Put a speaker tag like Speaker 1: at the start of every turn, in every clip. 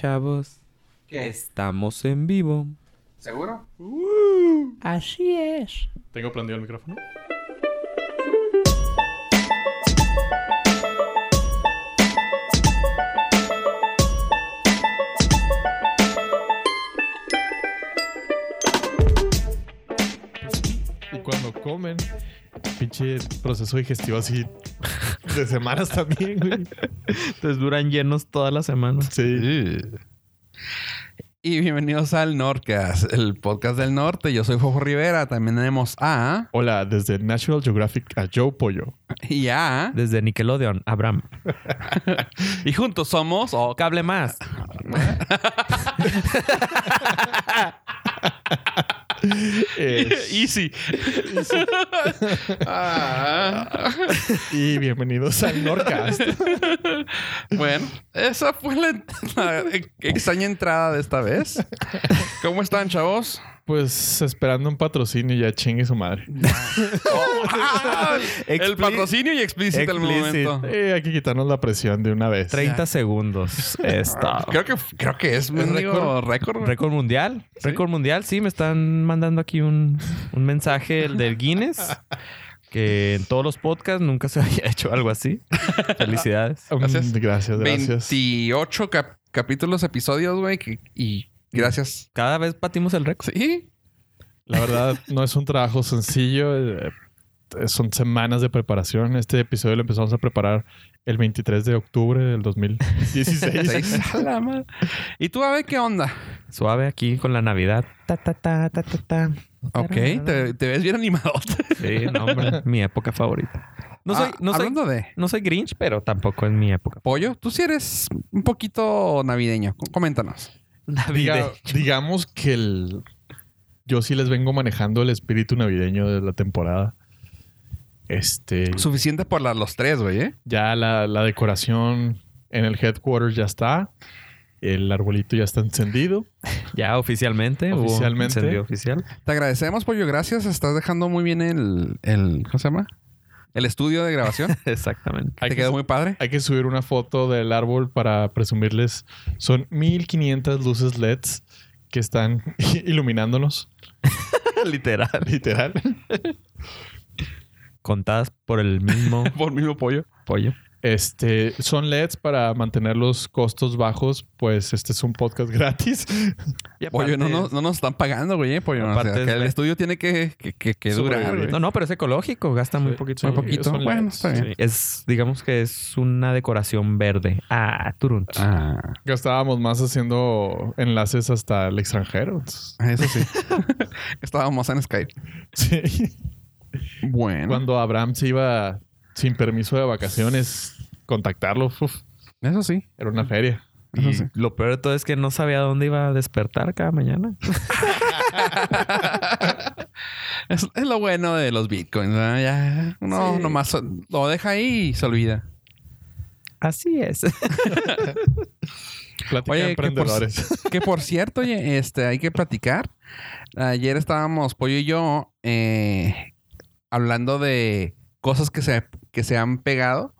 Speaker 1: Pichavos.
Speaker 2: ¿Qué?
Speaker 1: Estamos en vivo.
Speaker 2: ¿Seguro?
Speaker 1: Así es.
Speaker 3: Tengo prendido el micrófono. Y cuando comen, pinche proceso digestivo así de semanas también, güey.
Speaker 4: Entonces duran llenos toda la semana.
Speaker 3: Sí.
Speaker 2: Y bienvenidos al Nordcast, el podcast del norte. Yo soy Jojo Rivera. También tenemos a
Speaker 3: Hola, desde National Geographic a Joe Pollo.
Speaker 2: y a.
Speaker 4: Desde Nickelodeon, Abraham.
Speaker 2: Y juntos somos. oh, ca-
Speaker 4: Cable más.
Speaker 3: Es-
Speaker 2: Easy. Ah.
Speaker 3: y bienvenidos al Norcast.
Speaker 2: bueno, esa fue la, la extraña entrada de esta vez. ¿Cómo están, chavos?
Speaker 3: Pues esperando un patrocinio ya chingue su madre.
Speaker 2: Ah, el
Speaker 4: Expli-
Speaker 2: patrocinio y explícito al
Speaker 4: Explícito.
Speaker 2: momento.
Speaker 3: Eh, hay que quitarnos la presión de una vez.
Speaker 4: 30 segundos. Está.
Speaker 2: Creo que, creo que es, mendigo récord. güey.
Speaker 4: Récord mundial. Récord mundial, sí, me están mandando aquí un, un mensaje el del Guinness. Que en todos los podcasts nunca se había hecho algo así. Felicidades.
Speaker 3: Mm,
Speaker 2: Gracias.
Speaker 3: Gracias, gracias.
Speaker 2: 28 cap- capítulos, episodios, güey. que- Y gracias.
Speaker 4: Cada vez batimos el récord.
Speaker 2: Sí.
Speaker 3: La verdad, no es un trabajo sencillo. eh, Son semanas de preparación. Este episodio lo empezamos a preparar el 23 de octubre del 2016.
Speaker 2: Seis. A la madre. ¿Y tú a ver qué onda?
Speaker 4: Suave aquí con la Navidad. Ta, ta, ta, ta, ta, ta.
Speaker 2: Ok, te, te ves bien animado.
Speaker 4: Sí, no, hombre. Mi época favorita. No soy, no soy,
Speaker 2: Ah, Hablando de
Speaker 4: no soy Grinch, pero tampoco es mi época.
Speaker 2: pollo, tú sí eres un poquito navideño. Com- Coméntanos.
Speaker 3: Diga- digamos que el- yo sí les vengo manejando el espíritu navideño de la temporada. Este,
Speaker 2: Suficiente por la- los tres, güey, ¿eh?
Speaker 3: ya la, la decoración en el headquarters ya está. El arbolito ya está encendido.
Speaker 4: Ya oficialmente. hubo
Speaker 3: Oficialmente.
Speaker 4: incendio oficial.
Speaker 2: Te agradecemos, pollo. Gracias. Estás dejando muy bien el, el ¿cómo se llama? El estudio de grabación.
Speaker 4: Exactamente.
Speaker 3: Hay
Speaker 2: te
Speaker 3: que
Speaker 2: quedó
Speaker 3: su-
Speaker 2: muy padre.
Speaker 3: Hay que subir una foto del árbol para presumirles. Son 1500 luces LEDs que están iluminándonos,
Speaker 4: Literal.
Speaker 3: literal.
Speaker 4: Contadas por el mismo
Speaker 2: Por mismo pollo.
Speaker 4: pollo.
Speaker 3: Este, son LEDs para mantener los costos bajos, pues este es un podcast gratis.
Speaker 4: Y
Speaker 2: Pollo, no,
Speaker 4: aparte-
Speaker 2: nos- no nos están pagando, güey, ¿eh? pollo. O sea,
Speaker 4: Aparte es
Speaker 2: que el
Speaker 4: de-
Speaker 2: estudio tiene que, que, que- que durar,
Speaker 3: Sobrevivir.
Speaker 2: güey.
Speaker 4: No, no, pero es ecológico. Gasta muy poquito.
Speaker 2: Muy poquito.
Speaker 3: son E
Speaker 2: Bueno,
Speaker 3: LEDs.
Speaker 2: está bien.
Speaker 4: Sí. Es, digamos que es una decoración verde. Ah, turun.
Speaker 2: Ah,
Speaker 3: Gastábamos más haciendo enlaces hasta el extranjero. entonces,
Speaker 2: eso sí. Estábamos en Skype.
Speaker 3: Sí.
Speaker 2: Bueno.
Speaker 3: Cuando Abraham se iba sin permiso de vacaciones, contactarlo, uf,
Speaker 2: Eso sí.
Speaker 3: era una feria.
Speaker 2: Eso
Speaker 4: Y
Speaker 2: sí.
Speaker 4: lo peor de todo es que no sabía dónde iba a despertar cada mañana.
Speaker 2: Es, es lo bueno de los bitcoins. ¿verdad? Ya uno nomás so- lo deja ahí y se olvida.
Speaker 4: Así es.
Speaker 3: Plática
Speaker 2: Oye,
Speaker 3: de
Speaker 2: pues que por-
Speaker 3: emprendedores.
Speaker 2: Que por cierto, oye, este, hay que platicar. Ayer estábamos, Pollo y yo, eh, hablando de cosas que se, que se han pegado.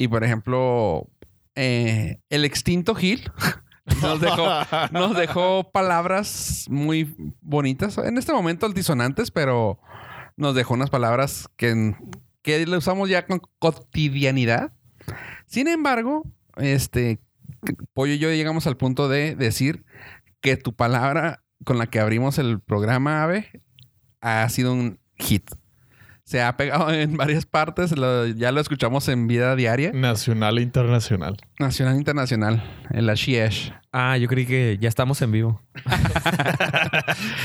Speaker 2: Y por ejemplo, eh, el extinto Gil nos dejó, nos dejó palabras muy bonitas. En este momento altisonantes, pero nos dejó unas palabras que, que le usamos ya con cotidianidad. Sin embargo, este Pollo y yo llegamos al punto de decir que tu palabra con la que abrimos el programa AVE ha sido un hit. Se ha pegado en varias partes, lo- ya lo escuchamos en vida diaria,
Speaker 3: Nacional e internacional.
Speaker 2: nacional e internacional, el Ashiesh.
Speaker 4: Ah, yo creí que ya estamos en vivo.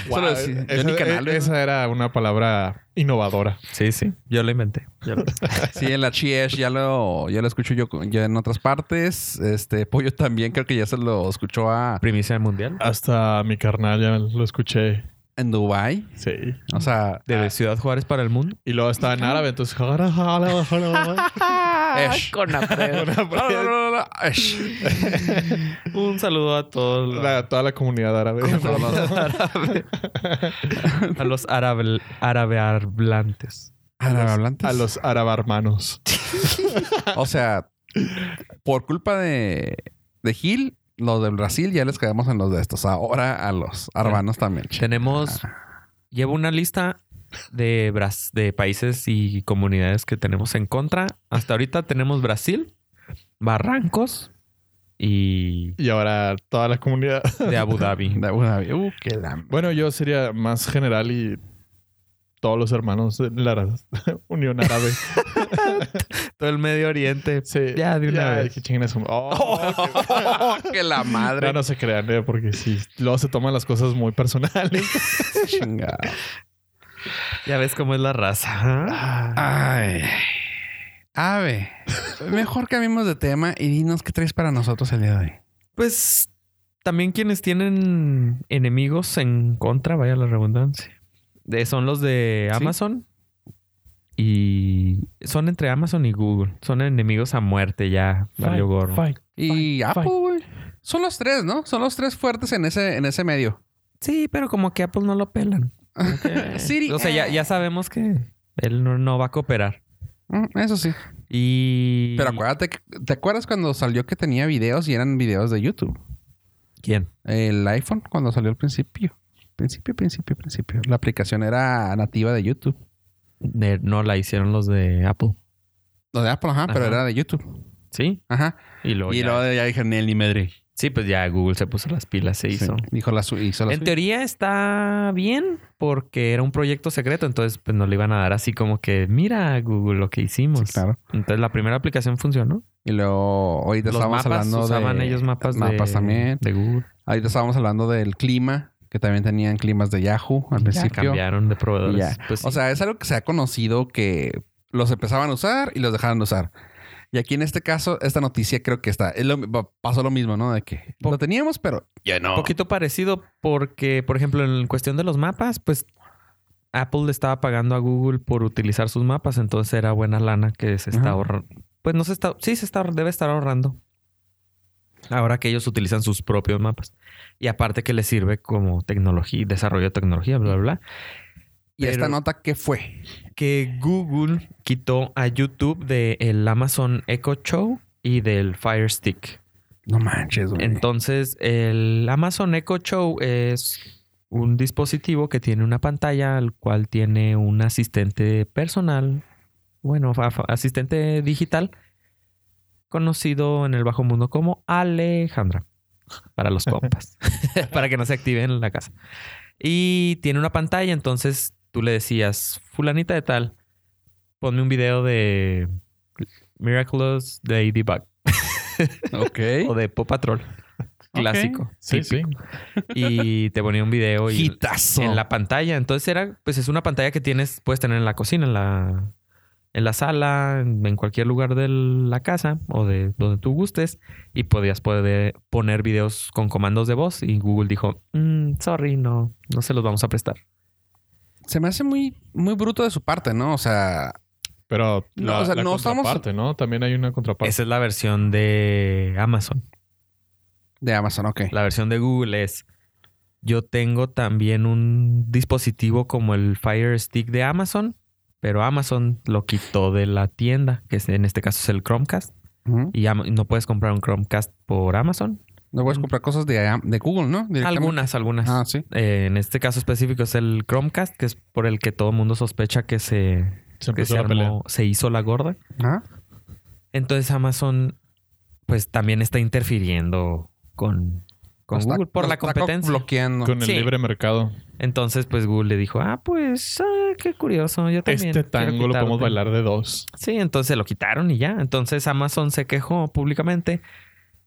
Speaker 2: Eso lo decía
Speaker 3: Esa-
Speaker 2: Johnny
Speaker 3: e-
Speaker 2: Canales,
Speaker 3: esa era una palabra innovadora.
Speaker 4: Sí, sí. Yo lo inventé. Yo lo-
Speaker 2: Sí, el Ashiesh ya lo, ya lo escucho yo, con- ya en otras partes. Este Pollo también creo que ya se lo escuchó a,
Speaker 4: Primicia mundial.
Speaker 3: Hasta mi carnal ya lo escuché.
Speaker 2: en Dubai.
Speaker 3: Sí.
Speaker 2: O sea,
Speaker 4: De Ciudad Juárez para el mundo.
Speaker 3: Y luego estaba en árabe, entonces. jala, jala, jala, jala.
Speaker 2: Esh.
Speaker 4: Con
Speaker 2: La, la, la, la, la, Esh.
Speaker 4: Un saludo a todos los-
Speaker 3: La- toda la comunidad árabe.
Speaker 4: a los árabe hablantes.
Speaker 2: Árabe-hablantes.
Speaker 3: A los árabe hermanos.
Speaker 2: O sea, por culpa de, de Gil, los de Brasil ya les quedamos en los de estos. Ahora a los arbanos también.
Speaker 4: Tenemos. Llevo una lista de, Bras- de países y comunidades que tenemos en contra. Hasta ahorita tenemos Brasil, Barrancos y
Speaker 3: Y ahora toda la comunidad.
Speaker 4: de Abu Dhabi.
Speaker 2: De Abu Dhabi. Uh, qué la-
Speaker 3: Bueno, yo sería más general y todos los hermanos de la Ara- Unión Árabe.
Speaker 4: Todo el Medio Oriente.
Speaker 3: Sí.
Speaker 4: Ya, de una vez.
Speaker 3: que chinguen a su- Oh,
Speaker 2: Oh, que la madre.
Speaker 3: no, no se crean, eh, porque sí, luego se toman las cosas muy personales.
Speaker 2: Chingado.
Speaker 4: Ya ves cómo es la raza. ¿eh?
Speaker 2: Ay. Ave. Mejor cambiemos de tema y dinos qué traes para nosotros el día de hoy.
Speaker 4: Pues también quienes tienen enemigos en contra, vaya la redundancia. De- son los de
Speaker 2: Sí.
Speaker 4: Amazon. Y son entre Amazon y Google. Son enemigos a muerte ya. Valió gorro.
Speaker 2: Y Apple, güey. Son los tres, ¿no? Son los tres fuertes en ese, en ese medio.
Speaker 4: Sí, pero como que Apple no lo pelan. Como que-
Speaker 2: Siri,
Speaker 4: o sea, Eh, ya,
Speaker 2: eh.
Speaker 4: ya sabemos que él no, no va a cooperar.
Speaker 2: Mm, Eso sí.
Speaker 4: Y.
Speaker 2: Pero acuérdate, que- ¿te acuerdas cuando salió que tenía videos y eran videos de YouTube?
Speaker 4: ¿Quién?
Speaker 2: El iPhone cuando salió al principio. Principio, principio, principio. La aplicación era nativa de YouTube.
Speaker 4: De- no la hicieron los de Apple.
Speaker 2: Lo de Apple, ajá, pero
Speaker 4: Ajá.
Speaker 2: era de YouTube.
Speaker 4: Sí.
Speaker 2: Ajá.
Speaker 4: Y luego.
Speaker 2: y
Speaker 4: ya-
Speaker 2: luego ya dijeron, ni él ni Madrid.
Speaker 4: Sí, pues ya Google se puso las pilas, se hizo.
Speaker 2: Dijo la su- hizo la
Speaker 4: En
Speaker 2: suya.
Speaker 4: teoría está bien porque era un proyecto secreto, entonces pues no le iban a dar así como que mira Google lo que hicimos.
Speaker 2: Sí, claro.
Speaker 4: Entonces la primera aplicación funcionó.
Speaker 2: Y luego ahorita
Speaker 4: Los mapas
Speaker 2: estábamos hablando
Speaker 4: usaban
Speaker 2: de...
Speaker 4: ellos mapas, de-
Speaker 2: mapas también.
Speaker 4: de Google.
Speaker 2: Ahorita estábamos hablando del clima, que también tenían climas de Yahoo al
Speaker 4: Y ya
Speaker 2: principio.
Speaker 4: cambiaron de
Speaker 2: Y
Speaker 4: proveedores.
Speaker 2: ya.
Speaker 4: Pues, sí.
Speaker 2: O sea, es algo que se ha conocido que los empezaban a usar y los dejaban de usar. Y aquí en este caso, esta noticia creo que está. es lo- va- pasó lo mismo, ¿no? De que
Speaker 4: Po-
Speaker 2: lo teníamos, pero ya no.
Speaker 4: Un poquito parecido porque, por ejemplo, en cuestión de los mapas, pues Apple le estaba pagando a Google por utilizar sus mapas, entonces era buena lana que se está
Speaker 2: Ajá.
Speaker 4: ahorrando. Pues no se está, sí se está, debe estar ahorrando. Ahora que ellos utilizan sus propios mapas. Y aparte que les sirve como tecnología, desarrollo de tecnología, bla, bla, bla.
Speaker 2: ¿Y esta
Speaker 4: pero-
Speaker 2: nota qué fue?
Speaker 4: Que Google quitó a YouTube del Amazon Echo Show y del Fire Stick.
Speaker 2: No manches, güey.
Speaker 4: Entonces, el Amazon Echo Show es un dispositivo que tiene una pantalla, al cual tiene un asistente personal, bueno, fa- fa- asistente digital, conocido en el bajo mundo como Alejandra, para los compas, para que no se activen en la casa. Y tiene una pantalla, entonces tú le decías, fulanita de tal, ponme un video de Miraculous de Ladybug o
Speaker 2: ok.
Speaker 4: de Pop Patrol. Clásico.
Speaker 3: Sí, sí.
Speaker 4: Y te ponía un video y
Speaker 2: Hitazo.
Speaker 4: en la pantalla. Entonces era, pues es una pantalla que tienes, puedes tener en la cocina, en la, en la sala, en en cualquier lugar de la casa o de donde tú gustes. Y podías poder poner videos con comandos de voz. Y Google dijo, "Mm, sorry, no, no se los vamos a prestar.
Speaker 2: Se me hace muy, muy bruto de su parte, ¿no? O sea,
Speaker 3: Pero
Speaker 2: No,
Speaker 3: la,
Speaker 2: o sea,
Speaker 3: la
Speaker 2: no estamos-
Speaker 3: contraparte, ¿no? También hay una contraparte.
Speaker 4: Esa es la versión de Amazon.
Speaker 2: de Amazon, ok.
Speaker 4: La versión de Google es, yo tengo también un dispositivo como el Fire Stick de Amazon, pero Amazon lo quitó de la tienda, que es- en este caso es el Chromecast,
Speaker 2: Ujú.
Speaker 4: y Am- no puedes comprar un Chromecast por Amazon.
Speaker 2: No puedes comprar cosas de, am- de Google, ¿no? Directamente.
Speaker 4: Algunas, algunas.
Speaker 2: Ah, sí.
Speaker 4: Eh, en este caso específico es el Chromecast, que es por el que todo el mundo sospecha que se,
Speaker 3: Se
Speaker 4: que
Speaker 3: empezó
Speaker 4: se,
Speaker 3: la pelea.
Speaker 4: armó- se hizo la gorda.
Speaker 2: Ajá.
Speaker 4: Entonces Amazon, pues también está interfiriendo con, con
Speaker 2: Los ta-
Speaker 4: Google por
Speaker 2: los
Speaker 4: la
Speaker 2: tacos
Speaker 4: competencia.
Speaker 2: bloqueando.
Speaker 3: Con el
Speaker 4: Sí.
Speaker 3: libre mercado.
Speaker 4: Entonces, pues Google le dijo, ah, pues, ah, qué curioso, yo también.
Speaker 3: Este
Speaker 4: quiero
Speaker 3: tango lo podemos
Speaker 4: quitarte".
Speaker 3: bailar de dos.
Speaker 4: Sí, entonces lo quitaron y ya. Entonces Amazon se quejó públicamente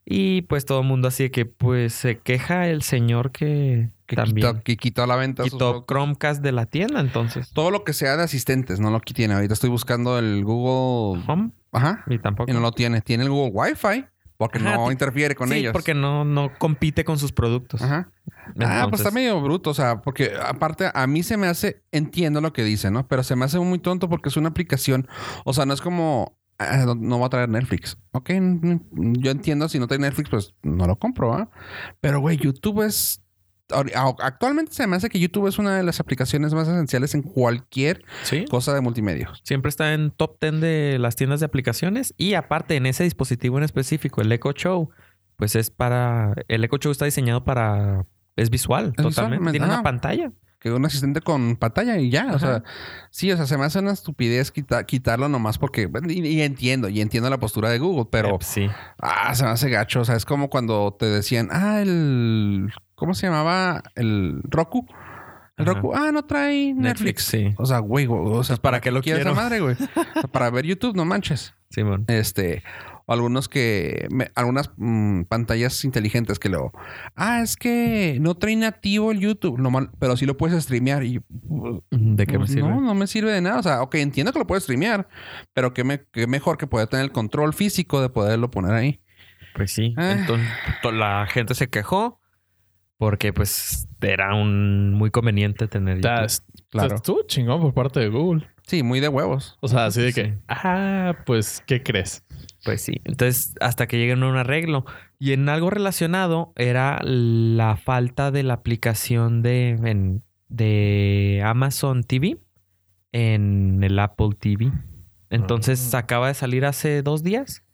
Speaker 4: y pues todo el mundo así de que pues se queja el señor que,
Speaker 2: Que
Speaker 4: también
Speaker 2: quitó, que quitó a la venta.
Speaker 4: quitó,
Speaker 2: sus productos.
Speaker 4: Chromecast de la tienda, entonces.
Speaker 2: Todo lo que sea de asistentes no lo que tiene. Ahorita estoy buscando el Google.
Speaker 4: Home
Speaker 2: Ajá.
Speaker 4: y tampoco.
Speaker 2: Y no lo tiene. Tiene el Google Wi-Fi porque
Speaker 4: Ajá,
Speaker 2: no
Speaker 4: ti-
Speaker 2: interfiere con
Speaker 4: sí,
Speaker 2: ellos.
Speaker 4: porque no, no compite con sus productos.
Speaker 2: Ajá. Ah, pues
Speaker 4: Entonces,
Speaker 2: está medio bruto. O sea, porque aparte a mí se me hace. Entiendo lo que dice, ¿no? Pero se me hace muy tonto porque es una aplicación. O sea, no es como. ah, No, no va a traer Netflix. Ok, mm, yo entiendo. Si no trae Netflix, pues no lo compro, ¿ah? Pero, güey, YouTube es. ahori- a- Actualmente se me hace que YouTube es una de las aplicaciones más esenciales en cualquier
Speaker 4: Sí.
Speaker 2: cosa de multimedia.
Speaker 4: Siempre está en top 10 de las tiendas de aplicaciones y aparte en ese dispositivo en específico, el Echo Show, pues es para. El Echo Show está diseñado para. Es visual,
Speaker 2: visual,
Speaker 4: totalmente.
Speaker 2: me-
Speaker 4: Tiene
Speaker 2: ah.
Speaker 4: una pantalla.
Speaker 2: Que un asistente con pantalla y ya. O
Speaker 4: Ajá.
Speaker 2: sea, sí, o sea, se me hace una estupidez quita- quitarlo nomás porque. Y, y entiendo, y entiendo la postura de Google, pero.
Speaker 4: Eh, sí.
Speaker 2: Ah, se me hace gacho. O sea, es como cuando te decían, ah, el. ¿Cómo se llamaba? El Roku. El
Speaker 4: Ajá.
Speaker 2: Roku. Ah, no trae Netflix.
Speaker 4: sí.
Speaker 2: O sea, güey, güey, o sea,
Speaker 4: ¿para qué lo
Speaker 2: quieres
Speaker 4: quiero?
Speaker 2: esa madre, güey? O sea, Para ver YouTube, no manches.
Speaker 4: Simón.
Speaker 2: Este, o algunos que, me- algunas mm, pantallas inteligentes que luego, ah, es que no trae nativo el YouTube, no mal- pero sí lo puedes streamear. Y,
Speaker 4: ¿De qué me
Speaker 2: pues,
Speaker 4: sirve?
Speaker 2: No, no me sirve de nada. O sea, ok, entiendo que lo puedes streamear, pero qué, me- qué mejor que poder tener el control físico de poderlo poner ahí.
Speaker 4: Pues sí.
Speaker 2: Ah.
Speaker 4: Entonces, to- la gente se quejó porque pues era un muy conveniente tener
Speaker 3: Está-
Speaker 4: YouTube.
Speaker 3: está- Estuvo chingón por parte de Google.
Speaker 2: Sí, muy de huevos.
Speaker 3: O sea, así de
Speaker 4: Sí.
Speaker 3: que, ah, pues, ¿qué crees?
Speaker 4: Pues sí. Entonces, hasta que lleguen a un arreglo. Y en algo relacionado era la falta de la aplicación de, en- de Amazon TV en el Apple TV. Entonces,
Speaker 3: Ah.
Speaker 4: acaba de salir hace dos días.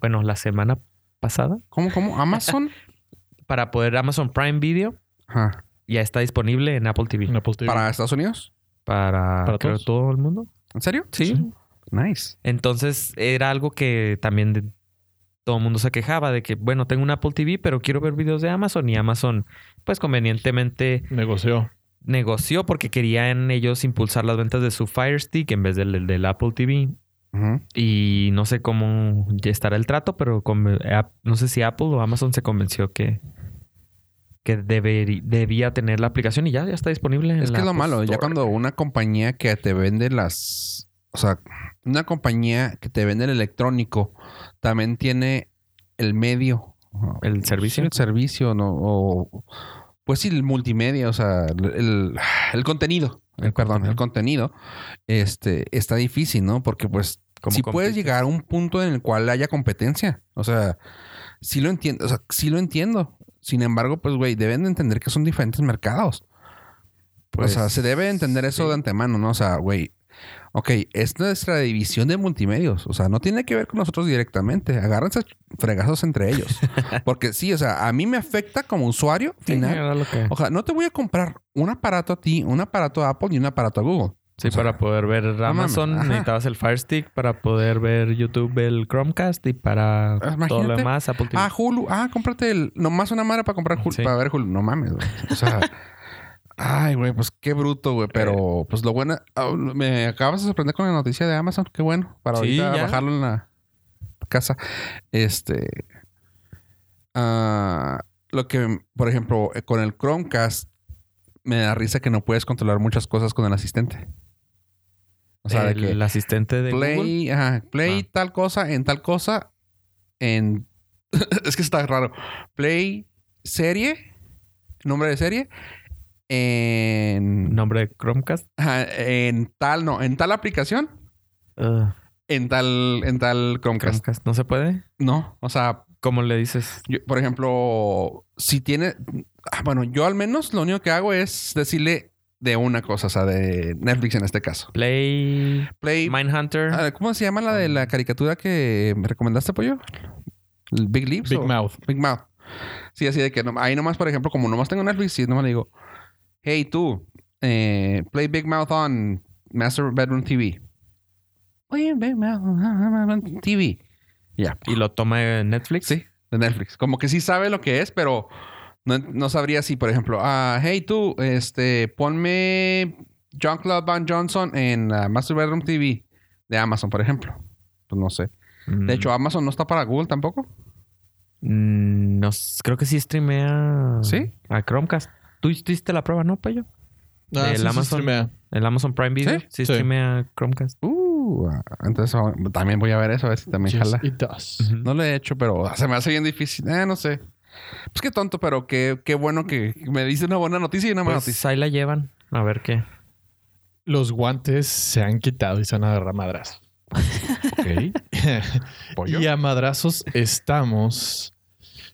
Speaker 4: Bueno, la semana pasada.
Speaker 2: ¿Cómo, cómo? ¿Amazon?
Speaker 4: Para poder Amazon Prime Video.
Speaker 2: Ajá.
Speaker 4: Ya está disponible en Apple TV.
Speaker 3: En Apple TV.
Speaker 2: ¿Para Estados Unidos?
Speaker 4: Para,
Speaker 3: ¿Para
Speaker 4: creo,
Speaker 3: todos?
Speaker 4: todo el mundo.
Speaker 2: ¿En serio?
Speaker 3: Sí.
Speaker 2: Nice.
Speaker 4: Entonces era algo que también de- todo el mundo se quejaba de que, bueno, tengo un Apple TV, pero quiero ver videos de Amazon. Y Amazon, pues convenientemente
Speaker 3: Negoció.
Speaker 4: negoció porque querían ellos impulsar las ventas de su Fire Stick en vez del, del Apple TV.
Speaker 2: Ujú.
Speaker 4: Y no sé cómo ya estará el trato, pero con- App- no sé si Apple o Amazon se convenció que, que deberi- debía tener la aplicación y ya, ya está disponible. en
Speaker 2: Es que
Speaker 4: la
Speaker 2: es lo
Speaker 4: Apple
Speaker 2: malo, ya
Speaker 4: Store.
Speaker 2: cuando una compañía que te vende las, o sea, una compañía que te vende el electrónico también tiene el medio,
Speaker 4: El servicio.
Speaker 2: Sí, el servicio, no, o pues sí, el multimedia, o sea, el, el- el contenido, eh, perdón, el contenido, este, está difícil, ¿no? Porque pues
Speaker 4: ¿Cómo
Speaker 2: si
Speaker 4: compites?
Speaker 2: puedes llegar a un punto en el cual haya competencia, o sea, sí lo entiendo, o sea, sí lo entiendo. Sin embargo, pues, güey, deben de entender que son diferentes mercados.
Speaker 4: Pues,
Speaker 2: o sea, se debe entender eso
Speaker 4: sí.
Speaker 2: de antemano, ¿no? O sea, güey, ok, es nuestra división de multimedios. O sea, no tiene que ver con nosotros directamente. Agárrense a fregazos entre ellos. Porque sí, o sea, a mí me afecta como usuario
Speaker 4: Sí,
Speaker 2: final.
Speaker 4: era lo que-
Speaker 2: O sea, no te voy a comprar un aparato a ti, un aparato a Apple y un aparato a Google.
Speaker 4: Sí,
Speaker 2: O sea,
Speaker 4: para poder ver
Speaker 2: mames,
Speaker 4: Amazon
Speaker 2: ajá.
Speaker 4: necesitabas el Fire Stick, para poder ver YouTube el Chromecast y para todo
Speaker 2: Imagínate.
Speaker 4: lo demás Apple TV.
Speaker 2: Ah, Hulu. Ah, cómprate el... Nomás una madre para comprar Hulu,
Speaker 4: Sí.
Speaker 2: para ver Hulu. No mames, güey. O sea... Ay, güey, pues qué bruto, güey. Pero,
Speaker 4: Eh.
Speaker 2: pues lo bueno... ah, Me acabas de sorprender con la noticia de Amazon. Qué bueno. Para
Speaker 4: Sí,
Speaker 2: ahorita
Speaker 4: ya.
Speaker 2: bajarlo en la casa. Este... ah, lo que, por ejemplo, eh, con el Chromecast me da risa que no puedes controlar muchas cosas con el asistente. O sea, de
Speaker 4: el,
Speaker 2: que
Speaker 4: asistente de Google.
Speaker 2: play, ajá, play
Speaker 4: Ah.
Speaker 2: tal cosa en tal cosa en es que está raro. Play serie, nombre de serie en
Speaker 4: Nombre de Chromecast.
Speaker 2: ajá, en tal no, en tal aplicación,
Speaker 4: Ah,
Speaker 2: en tal en tal Chromecast.
Speaker 4: Chromecast. ¿No se puede?
Speaker 2: No, o sea,
Speaker 4: ¿Cómo le dices?
Speaker 2: yo, por ejemplo, si tiene ah, bueno, yo al menos lo único que hago es decirle de una cosa, o sea, de Netflix en este caso.
Speaker 4: Play
Speaker 2: Play
Speaker 4: Mindhunter.
Speaker 2: Ah, ¿Cómo se llama la de la caricatura que me recomendaste, Pollo? ¿El Big Lips?
Speaker 3: Big
Speaker 2: o-
Speaker 3: Mouth.
Speaker 2: Big Mouth. Sí, así de que no- ahí nomás, por ejemplo, como nomás tengo Netflix, sí, nomás le digo, hey tú, eh, play Big Mouth on Master Bedroom TV. Oye, Big Mouth on TV. Ya,
Speaker 4: Y lo toma de Netflix.
Speaker 2: Sí. de Netflix. Como que sí sabe lo que es, pero no, no sabría si, por ejemplo, ah, hey tú, este, ponme John Claude Van Johnson en la Master Bedroom TV de Amazon, por ejemplo. Pues no sé.
Speaker 4: Mm,
Speaker 2: De hecho, ah. Amazon no está para Google tampoco.
Speaker 4: mm, no s- creo que sí streamea
Speaker 2: ¿Sí?
Speaker 4: a Chromecast. Tú hiciste la prueba, ¿no, Payo?
Speaker 3: Ah,
Speaker 4: Del
Speaker 3: sí, sí,
Speaker 4: Amazon.
Speaker 3: streamea.
Speaker 4: El Amazon Prime Video.
Speaker 2: ¿Sí?
Speaker 4: Sí,
Speaker 3: Sí.
Speaker 4: streamea Chromecast.
Speaker 2: Uh, ah, entonces ah, también voy a ver eso, a ver si también
Speaker 3: Yes,
Speaker 2: jala.
Speaker 3: it does.
Speaker 4: Ujú.
Speaker 2: No lo he hecho, pero ah, se me hace bien difícil. Eh, no sé. Pues qué tonto, pero qué, qué bueno que me dice una buena noticia y una mala
Speaker 4: Pues
Speaker 2: noticia.
Speaker 4: ahí la llevan. A ver qué.
Speaker 3: Los guantes se han quitado y se han agarrado a madrazos.
Speaker 2: Pollo.
Speaker 3: y a madrazos estamos.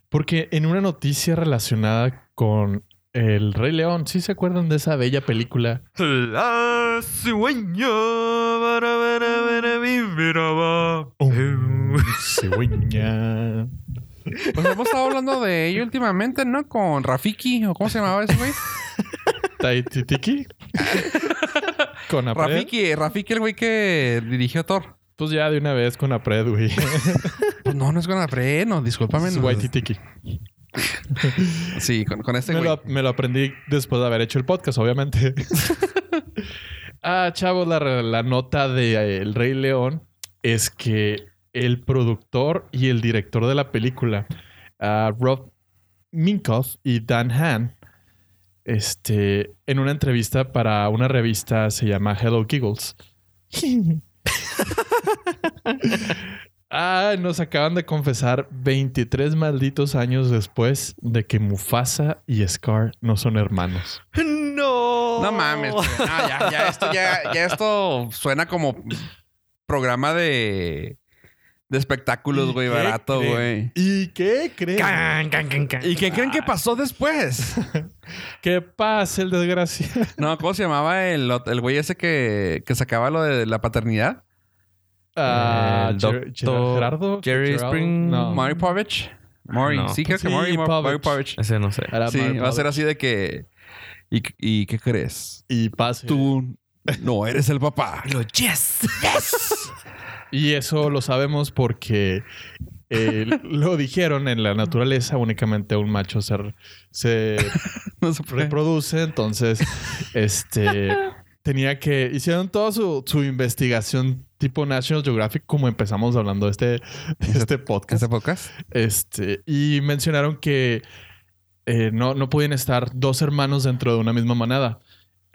Speaker 3: Porque en una noticia relacionada con El Rey León, ¿sí se acuerdan de esa bella película?
Speaker 4: La cigüeña bara,
Speaker 2: Oh.
Speaker 4: bara, bara, vibraba.
Speaker 3: Um, cigüeña.
Speaker 2: Pues hemos estado hablando de ello últimamente, ¿no? Con Rafiki, o cómo se llamaba ese güey.
Speaker 3: Taititiki. Con Apred.
Speaker 2: Rafiki, Rafiki, el güey que dirigió Thor.
Speaker 3: Pues ya de una vez con Apred, güey.
Speaker 2: Pues no, no es con Apred, no, discúlpame.
Speaker 3: Es
Speaker 2: no.
Speaker 3: Waititiki.
Speaker 2: Sí, con, con este
Speaker 3: me,
Speaker 2: güey.
Speaker 3: lo, me lo aprendí después de haber hecho el podcast, obviamente. ah, chavos, la, la nota de eh, El Rey León es que el productor y el director de la película, ah, Rob Minkoff y Dan Han, este, en una entrevista para una revista se llama Hello Giggles. Ah, nos acaban de confesar 23 malditos años después de que Mufasa y Scar no son hermanos.
Speaker 4: No.
Speaker 2: No mames. güey. No, ya, ya esto, ya, ya esto suena como programa de, de espectáculos, güey,
Speaker 3: ¿Qué
Speaker 2: barato,
Speaker 3: creen?
Speaker 2: güey.
Speaker 3: ¿Y qué creen?
Speaker 4: Can, can, can, can.
Speaker 2: ¿Y qué creen que pasó después?
Speaker 3: ¿Qué pasa, el desgraciado?
Speaker 2: No, ¿cómo se llamaba el, ot- el güey ese que, que sacaba lo de la paternidad?
Speaker 3: Ah,
Speaker 4: El
Speaker 3: Ger-
Speaker 4: doctor
Speaker 3: Gerard- Gerardo.
Speaker 4: Jerry
Speaker 3: Gerald-
Speaker 4: Spring-
Speaker 3: No.
Speaker 2: Mari Povich. Maury.
Speaker 4: No.
Speaker 2: Sí, creo que
Speaker 3: Um, Sí,
Speaker 2: Maury, Maury
Speaker 3: Povich.
Speaker 2: Maury Povich.
Speaker 4: Ese no sé.
Speaker 3: Era
Speaker 2: Sí,
Speaker 3: Mar-
Speaker 2: va a ser así de que... ¿Y, y qué crees?
Speaker 3: Y pase.
Speaker 2: Tú no eres el papá.
Speaker 4: Lo yes.
Speaker 3: Y eso lo sabemos porque eh, lo dijeron en la naturaleza, únicamente un macho se, se
Speaker 2: No se puede.
Speaker 3: reproduce, entonces este tenía que hicieron toda su, su investigación tipo National Geographic como empezamos hablando de este de este podcast.
Speaker 2: ¿Este podcast?
Speaker 3: Este y mencionaron que eh, no no pueden estar dos hermanos dentro de una misma manada.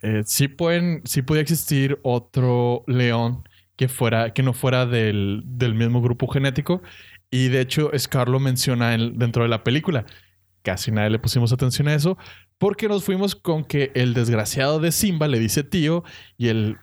Speaker 3: Eh, sí pueden sí podía existir otro león que fuera que no fuera del, del mismo grupo genético y de hecho Scar lo menciona en- dentro de la película. Casi nadie le pusimos atención a eso, porque nos fuimos con que el desgraciado de Simba le dice tío y el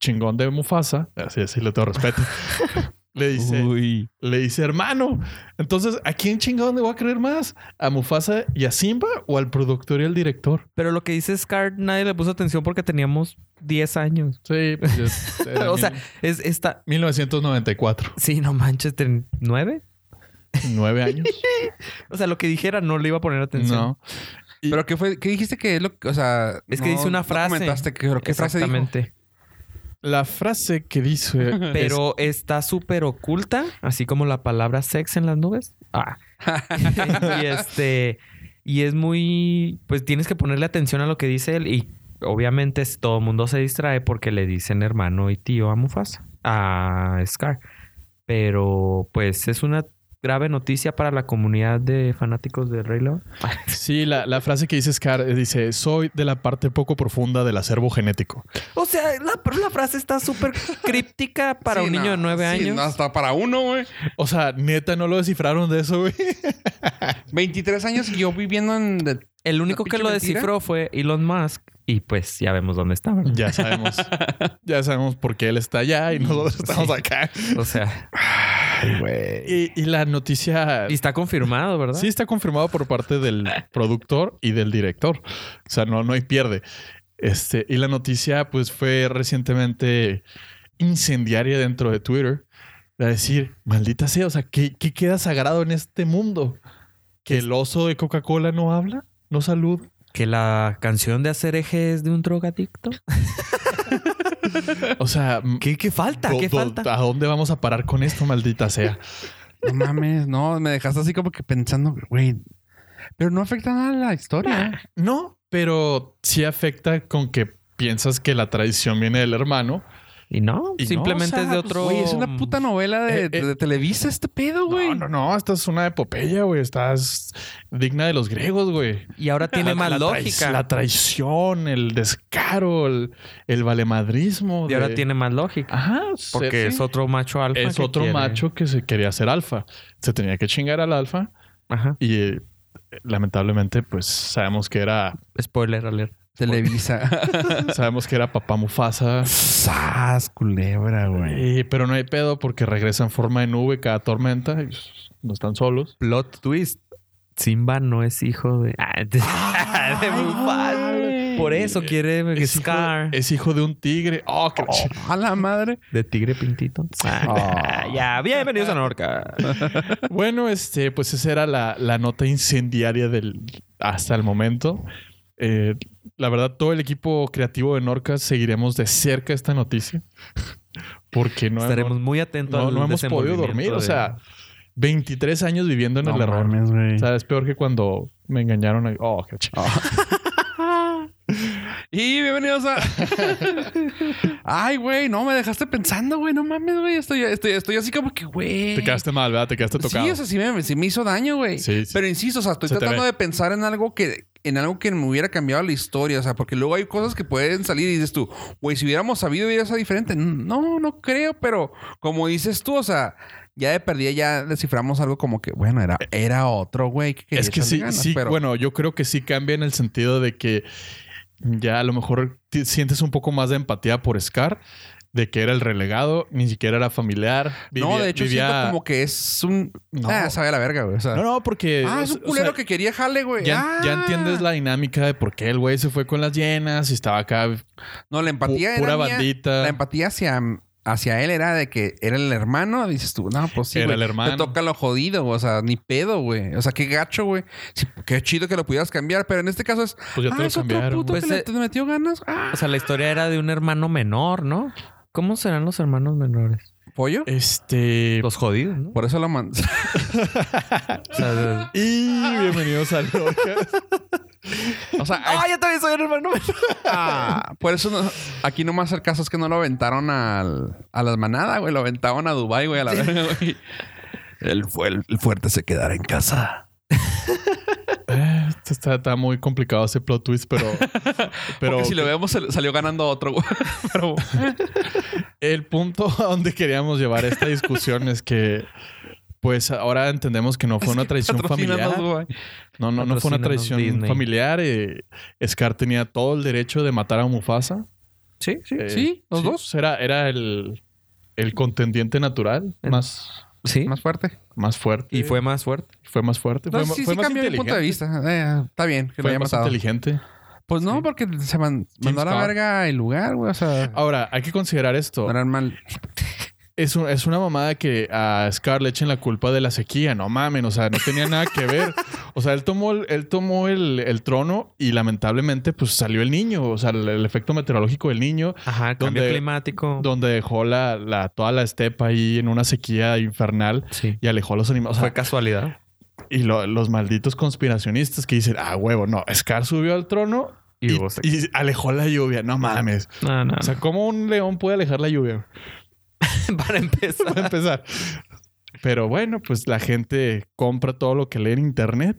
Speaker 3: chingón de Mufasa, así decirle todo respeto, le dice,
Speaker 1: Uy.
Speaker 3: le dice hermano. Entonces, ¿a quién chingón le voy a creer más? ¿A Mufasa y a Simba o al productor y al director?
Speaker 4: Pero lo que dice Scar, nadie le puso atención porque teníamos 10 años.
Speaker 3: Sí, pues,
Speaker 4: o sea, es está.
Speaker 3: 1994,
Speaker 4: Sí, no manches, ten- ¿nueve?
Speaker 3: nueve años.
Speaker 4: O sea, lo que dijera no le iba a poner atención.
Speaker 3: no. Y-
Speaker 2: ¿Pero qué fue? ¿Qué dijiste que es lo que- O sea...
Speaker 4: Es que dice una frase.
Speaker 2: comentaste que, pero ¿qué frase dijo?
Speaker 4: Exactamente.
Speaker 3: La frase que dice
Speaker 4: Pero está súper oculta, así como la palabra sex en las nubes. Ah. y este. Y es muy. Pues tienes que ponerle atención a lo que dice él. Y obviamente es- todo el mundo se distrae porque le dicen hermano y tío a Mufasa, a Scar. Pero pues es una grave noticia para la comunidad de fanáticos del Rey León.
Speaker 3: Sí, la, la frase que dice Scar eh, dice, soy de la parte poco profunda del acervo genético.
Speaker 4: O sea, la, la frase está súper críptica para
Speaker 2: Sí,
Speaker 4: un niño
Speaker 2: no.
Speaker 4: de nueve
Speaker 2: Sí,
Speaker 4: años.
Speaker 2: no, hasta para uno, güey.
Speaker 3: O sea, neta, no lo descifraron de eso, güey.
Speaker 2: 23 años y yo viviendo en... de-
Speaker 4: El único que
Speaker 2: pinche
Speaker 4: lo
Speaker 2: mentira?
Speaker 4: descifró fue Elon Musk. Y pues ya vemos dónde está, ¿verdad?
Speaker 3: Ya sabemos. ya sabemos por qué él está allá y nosotros estamos
Speaker 4: Sí.
Speaker 3: acá.
Speaker 4: O sea,
Speaker 3: Y, y la noticia...
Speaker 4: y está confirmado, ¿verdad?
Speaker 3: Sí está confirmado por parte del productor y del director. O sea, no, no hay pierde. Este, y la noticia pues fue recientemente incendiaria dentro de Twitter. A decir, maldita sea, o sea, ¿qué, qué queda sagrado en este mundo? ¿Que el oso de Coca-Cola no habla? ¿No saluda?
Speaker 4: Que la canción de hacer eje es de un drogadicto.
Speaker 3: O sea...
Speaker 4: ¿Qué, qué falta?
Speaker 3: do-
Speaker 4: ¿Qué
Speaker 3: do-
Speaker 4: falta?
Speaker 3: ¿A dónde vamos a parar con esto, maldita sea?
Speaker 2: No mames, no. Me dejaste así como que pensando, güey. Pero no afecta nada a la historia.
Speaker 3: No, pero sí afecta con que piensas que la traición viene del hermano.
Speaker 4: Y no,
Speaker 3: Y no,
Speaker 4: simplemente
Speaker 3: o sea,
Speaker 4: es de otro.
Speaker 2: pues,
Speaker 4: mm,
Speaker 2: Güey, es una puta novela de,
Speaker 3: Eh, eh.
Speaker 2: de Televisa este pedo, güey.
Speaker 3: No, no, no, esta es una epopeya, güey. Estás digna de los griegos, güey.
Speaker 4: Y ahora tiene
Speaker 3: La-
Speaker 4: más
Speaker 3: la trai-
Speaker 4: lógica.
Speaker 3: La traición, el descaro, el, el valemadrismo.
Speaker 4: y ahora
Speaker 3: de-
Speaker 4: tiene más lógica.
Speaker 3: Ajá,
Speaker 4: Porque
Speaker 3: se-
Speaker 4: es
Speaker 3: sí.
Speaker 4: otro macho alfa.
Speaker 3: Es
Speaker 4: que
Speaker 3: otro
Speaker 4: quiere-
Speaker 3: macho que se quería hacer alfa. Se tenía que chingar al alfa
Speaker 4: Ajá.
Speaker 3: y eh, lamentablemente, pues sabemos que era,
Speaker 4: Spoiler alert.
Speaker 2: Televisa.
Speaker 3: sabemos que era papá Mufasa.
Speaker 2: Sas, culebra, güey.
Speaker 3: Eh, pero no hay pedo porque regresa en forma de nube cada tormenta. y no están solos.
Speaker 4: Plot twist. Simba no es hijo de. Ah, de, de Mufasa. Por eso quiere
Speaker 3: Es hijo,
Speaker 4: Scar.
Speaker 3: es hijo de un tigre. Oh, que la ch-
Speaker 2: A la madre.
Speaker 4: De tigre pintito. Ah, ya, bienvenidos a Norca.
Speaker 3: Bueno, este, pues esa era la, la nota incendiaria del, hasta el momento. Eh, la verdad, todo el equipo creativo de Norca seguiremos de cerca esta noticia. Porque no,
Speaker 4: Estaremos muy atentos
Speaker 3: no,
Speaker 4: al
Speaker 3: no hemos podido
Speaker 4: desenvolvimiento
Speaker 3: dormir. O
Speaker 4: de-
Speaker 3: sea, 23 años viviendo en
Speaker 2: No
Speaker 3: el error.
Speaker 2: mames, güey.
Speaker 3: O sea, es peor que cuando me engañaron. ahí. Oh, qué ch-
Speaker 2: Y bienvenidos a. Ay, güey, no me dejaste pensando, güey. No mames, güey. Estoy, estoy, estoy así como que, güey.
Speaker 3: Te quedaste mal, ¿verdad? Te quedaste tocado.
Speaker 2: Sí, o sea, sí me, sí me hizo daño, güey.
Speaker 3: Sí, sí.
Speaker 2: Pero insisto, o sea, estoy
Speaker 3: Se te
Speaker 2: tratando
Speaker 3: ve.
Speaker 2: de pensar en algo que en algo que me hubiera cambiado la historia, o sea, porque luego hay cosas que pueden salir y dices tú, güey, si hubiéramos sabido hubiera sido diferente. No, no creo, pero como dices tú, o sea, ya de perdida ya desciframos algo como que, bueno, era, era otro, güey, que quería
Speaker 3: Eh, Es que
Speaker 2: echarle
Speaker 3: sí,
Speaker 2: ganas,
Speaker 3: sí,
Speaker 2: pero
Speaker 3: bueno, yo creo que sí cambia en el sentido de que ya a lo mejor ti- sientes un poco más de empatía por Scar, de que era el relegado, ni siquiera era familiar.
Speaker 2: no, de hecho
Speaker 3: vivía-
Speaker 2: siento como que es un
Speaker 3: No.
Speaker 2: ah, sabe a la verga, güey, o sea,
Speaker 3: No, no, porque...
Speaker 2: ah, es
Speaker 3: Eh, o-
Speaker 2: un
Speaker 3: o
Speaker 2: culero
Speaker 3: sea,
Speaker 2: que quería jale, güey.
Speaker 3: Ya,
Speaker 2: Ah.
Speaker 3: ya entiendes la dinámica de por qué el güey se fue con las llenas y estaba acá.
Speaker 2: No, la
Speaker 3: Pu-
Speaker 2: empatía era
Speaker 3: pura
Speaker 2: mía.
Speaker 3: bandita.
Speaker 2: La empatía hacia, hacia él era de que era el hermano. Dices tú, no, pues sí,
Speaker 3: Era
Speaker 2: güey.
Speaker 3: el hermano.
Speaker 2: Te toca lo jodido, güey. o sea, ni pedo, güey. O sea, qué gacho, güey. Sí, qué chido que lo pudieras cambiar, pero en este caso es...
Speaker 3: Pues ya
Speaker 2: ah,
Speaker 3: te lo
Speaker 2: es otro
Speaker 3: cambiaron.
Speaker 2: puto
Speaker 4: Pues,
Speaker 2: que le
Speaker 4: eh,
Speaker 2: te metió ganas. Ah,
Speaker 4: O sea, la historia era de un hermano menor, ¿no? ¿Cómo serán los hermanos menores?
Speaker 2: pollo.
Speaker 3: Este...
Speaker 4: Los jodidos, ¿no?
Speaker 2: Por eso lo mandó.
Speaker 4: O sea, de-
Speaker 3: Y bienvenidos al podcast.
Speaker 2: o sea,
Speaker 4: ¡Ah, yo también soy un hermano menor!
Speaker 2: ah, por eso no- aquí nomás el caso es que no lo aventaron al, a las manadas, güey. Lo aventaron a Dubai, güey, a la verga, güey. El, fu- el- el fuerte se quedará en casa.
Speaker 3: Eh, esto está, está muy complicado ese plot twist, pero... pero
Speaker 2: Porque si lo vemos, sal- salió ganando otro, güey. Pero
Speaker 3: El punto a donde queríamos llevar esta discusión es que, pues ahora entendemos que no fue una traición
Speaker 2: patrocínanos,
Speaker 3: familiar.
Speaker 2: güey.
Speaker 3: No, no, no fue una
Speaker 4: Patrocínanos,
Speaker 3: traición
Speaker 4: Disney.
Speaker 3: familiar. eh, Scar tenía todo el derecho de matar a Mufasa.
Speaker 4: Sí, sí.
Speaker 3: eh,
Speaker 2: Sí, los dos.
Speaker 3: Era, era el, el contendiente natural
Speaker 4: El-
Speaker 3: más,
Speaker 4: Sí.
Speaker 2: Más fuerte.
Speaker 3: más fuerte.
Speaker 4: Y fue más fuerte.
Speaker 3: Fue más fuerte.
Speaker 2: No,
Speaker 3: fue ma-
Speaker 2: sí,
Speaker 3: fue
Speaker 2: sí
Speaker 3: más
Speaker 2: cambió mi punto de
Speaker 3: inteligente.
Speaker 2: vista. Eh, está bien que lo
Speaker 3: Fue
Speaker 2: haya
Speaker 3: más
Speaker 2: matado.
Speaker 3: inteligente.
Speaker 2: Pues no, porque se man- mandó a la
Speaker 3: Scott.
Speaker 2: verga el lugar, güey. O sea,
Speaker 3: Ahora, hay que considerar esto.
Speaker 2: no eran mal.
Speaker 3: Es, un- es una mamada que a Scar le echen la culpa de la sequía. No mamen, o sea, no tenía nada que ver. O sea, él tomó, el- él tomó el, el trono y lamentablemente pues salió el niño. O sea, el, el efecto meteorológico del niño,
Speaker 4: Ajá, cambio
Speaker 3: Donde-
Speaker 4: climático.
Speaker 3: donde dejó la, la- toda la estepa ahí en una sequía infernal
Speaker 4: Sí.
Speaker 3: y alejó a los animales. O sea,
Speaker 4: fue casualidad.
Speaker 3: y lo- los malditos conspiracionistas que dicen, ah, huevo, no, Scar subió al trono
Speaker 4: Y, Ah.
Speaker 3: y,
Speaker 4: vos.
Speaker 3: y alejó la lluvia. No mames.
Speaker 4: No, no.
Speaker 3: O sea, ¿cómo un león puede alejar la lluvia?
Speaker 4: para empezar.
Speaker 3: para empezar. Pero bueno, pues la gente compra todo lo que lee en internet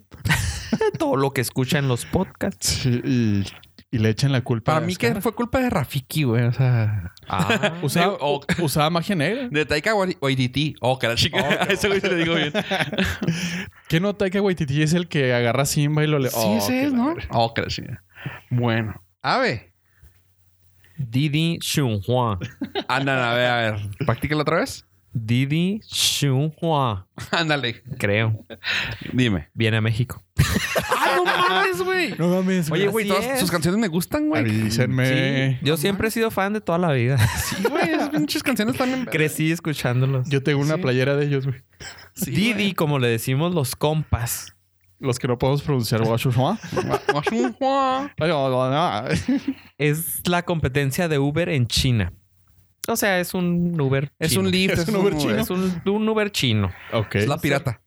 Speaker 4: Todo lo que escuchan los podcasts.
Speaker 3: y, y le echan la culpa.
Speaker 2: Para
Speaker 3: a
Speaker 2: mí
Speaker 3: Scar.
Speaker 2: que fue culpa de Rafiki, güey. O sea,
Speaker 4: Ah,
Speaker 3: usaba, u- usaba magia negra.
Speaker 2: de Taika Wai- Waititi. Oh, que la chica. A ese güey se le digo bien.
Speaker 3: ¿Qué nota que Waititi es el que agarra a Simba y lo le...
Speaker 2: sí,
Speaker 3: Oh,
Speaker 2: ese
Speaker 3: que
Speaker 2: es,
Speaker 3: la
Speaker 2: ¿no?
Speaker 3: verga.
Speaker 2: Oh, que la chica. Bueno. Ave.
Speaker 4: Didi Xunhua.
Speaker 2: Ándale, a ver, a ver. Practícalo otra vez.
Speaker 4: Didi Xunhua.
Speaker 2: Ándale.
Speaker 4: Creo.
Speaker 2: Dime.
Speaker 4: Viene a México.
Speaker 2: ¡Ah, no mames, güey!
Speaker 3: No mames.
Speaker 2: Oye, güey,
Speaker 4: Así
Speaker 2: todas
Speaker 4: es.
Speaker 2: sus canciones me gustan, güey.
Speaker 3: Avísenme.
Speaker 4: Yo siempre he sido fan de toda la vida.
Speaker 2: Sí, güey. Esas pinches canciones también.
Speaker 4: Crecí escuchándolos.
Speaker 3: Yo tengo una
Speaker 2: Sí.
Speaker 3: playera de ellos, güey.
Speaker 4: Didi, como le decimos los compas.
Speaker 3: Los que no podemos pronunciar.
Speaker 4: Es la competencia de Uber en China. O sea, es un Uber.
Speaker 2: Es
Speaker 4: chino.
Speaker 2: un lift.
Speaker 3: Es un Uber chino.
Speaker 4: Es un, un Uber chino.
Speaker 3: ok.
Speaker 2: Es la pirata.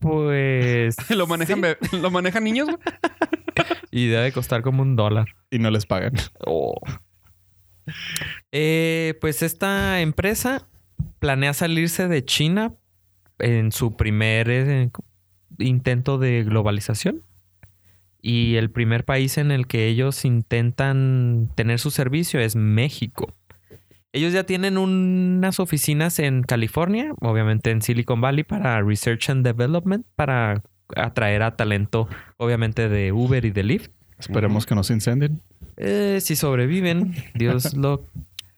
Speaker 4: Pues.
Speaker 2: Lo manejan, bebé- lo manejan niños, güey.
Speaker 4: Y debe costar como un dólar.
Speaker 3: Y no les pagan.
Speaker 4: Eh, pues esta empresa planea salirse de China en su primer eh, intento de globalización. Y el primer país en el que ellos intentan tener su servicio es México. Ellos ya tienen unas oficinas en California, obviamente en Silicon Valley, para Research and Development, para atraer a talento, obviamente, de Uber y de Lyft.
Speaker 3: Esperemos que no se incendien.
Speaker 4: Eh, si sobreviven, Dios lo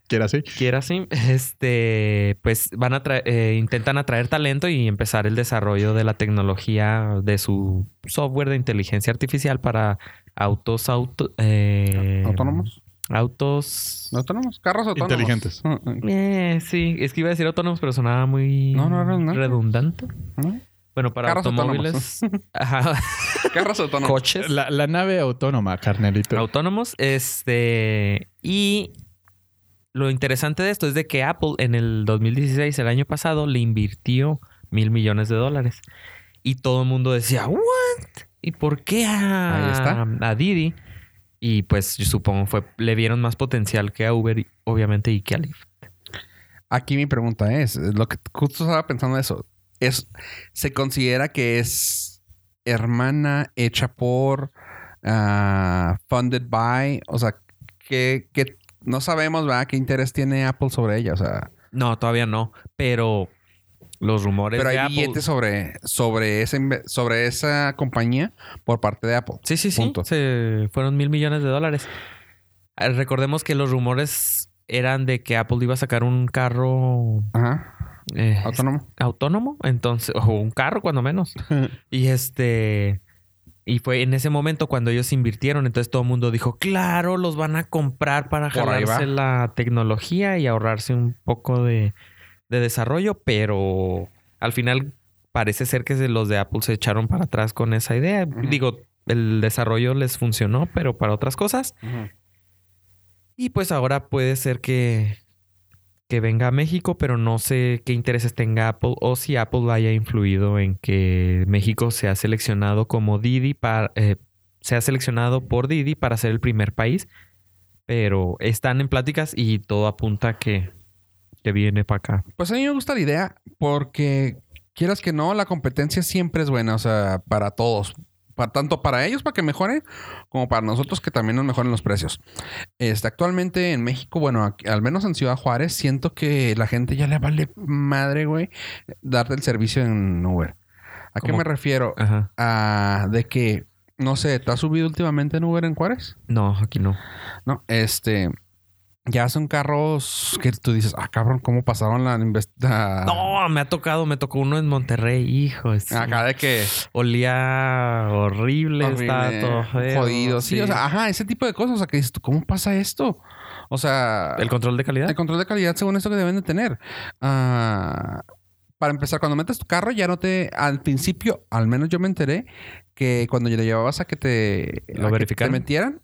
Speaker 3: que era así.
Speaker 4: quiera así, este, pues van a tra- eh, intentan atraer talento y empezar el desarrollo de la tecnología de su software de inteligencia artificial para autos auto, eh,
Speaker 2: ¿Autónomos?
Speaker 4: Autos.
Speaker 2: ¿Autónomos? ¿Carros autónomos?
Speaker 3: Inteligentes.
Speaker 2: Mm, mm.
Speaker 4: Eh, sí, es que iba a decir autónomos, pero sonaba muy
Speaker 2: No, no, redundante.
Speaker 4: redundante.
Speaker 2: ¿No?
Speaker 4: Bueno, para
Speaker 2: Carros
Speaker 4: automóviles, ajá,
Speaker 2: Carros autónomos.
Speaker 4: coches
Speaker 3: La, la nave autónoma, carnalito.
Speaker 4: autónomos, este, y lo interesante de esto es de que Apple en el 2016, el año pasado, le invirtió mil millones de dólares y todo el mundo decía ¿What? ¿Y por qué a,
Speaker 2: Ahí está.
Speaker 4: a Didi? Y pues yo supongo fue le vieron más potencial que a Uber, y- obviamente, y que a Lyft.
Speaker 2: Aquí mi pregunta es, lo que justo estaba pensando eso, es, ¿se considera que es hermana hecha por, ah, funded by? O sea, que, que no sabemos, ¿verdad? ¿Qué interés tiene Apple sobre ella? O sea,
Speaker 4: No, todavía no, pero los rumores
Speaker 2: pero hay
Speaker 4: de Apple-
Speaker 2: billetes sobre, sobre, ese inve- sobre esa compañía por parte de Apple.
Speaker 4: Sí, sí, sí.
Speaker 2: Punto.
Speaker 4: Se fueron mil millones de dólares. Eh, Recordemos que los rumores eran de que Apple iba a sacar un carro
Speaker 2: Ajá,
Speaker 4: eh,
Speaker 2: autónomo.
Speaker 4: autónomo, entonces, o un carro cuando menos. y este. Y fue en ese momento cuando ellos invirtieron, entonces todo el mundo dijo, claro, los van a comprar para
Speaker 2: Por ahí va.
Speaker 4: jalarse la tecnología y ahorrarse un poco de, de desarrollo, pero al final parece ser que se- los de Apple se echaron para atrás con esa idea.
Speaker 2: Ujú.
Speaker 4: Digo, el desarrollo les funcionó, pero para otras cosas. Y pues ahora puede ser que, que venga a México, pero no sé qué intereses tenga Apple o si Apple haya influido en que México sea seleccionado como Didi para eh, sea seleccionado por Didi para ser el primer país. Pero están en pláticas y todo apunta a que, que viene para acá.
Speaker 2: Pues a mí me gusta la idea porque quieras que no, la competencia siempre es buena, o sea, para todos. Para, tanto para ellos para que mejoren como para nosotros que también nos mejoren los precios. Este, actualmente en México, bueno, aquí- al menos en Ciudad Juárez, siento que la gente ya le vale madre, güey, darte el servicio en Uber. ¿A qué
Speaker 4: ¿Cómo?
Speaker 2: me refiero?
Speaker 4: Ajá.
Speaker 2: A de que, no sé, ¿te has subido últimamente en Uber en Juárez?
Speaker 4: No, aquí no.
Speaker 2: No, este. Ya son carros que tú dices, ah, cabrón, ¿cómo pasaron la Ah, investigación?
Speaker 4: No, me ha tocado, me tocó uno en Monterrey, hijo. es-
Speaker 2: Acá de que
Speaker 4: Olía horrible,
Speaker 2: horrible,
Speaker 4: estaba todo feo,
Speaker 2: jodido. Sí, o sea, ajá, ese tipo de cosas. O sea, que dices tú, ¿cómo pasa esto? O sea,
Speaker 4: el control de calidad.
Speaker 2: el control de calidad según esto que deben de tener. Ah, para empezar, cuando metes tu carro, ya no te. Al principio, al menos yo me enteré que cuando le llevabas a que te.
Speaker 4: ¿Lo
Speaker 2: a que
Speaker 4: verificaran?
Speaker 2: te metieran.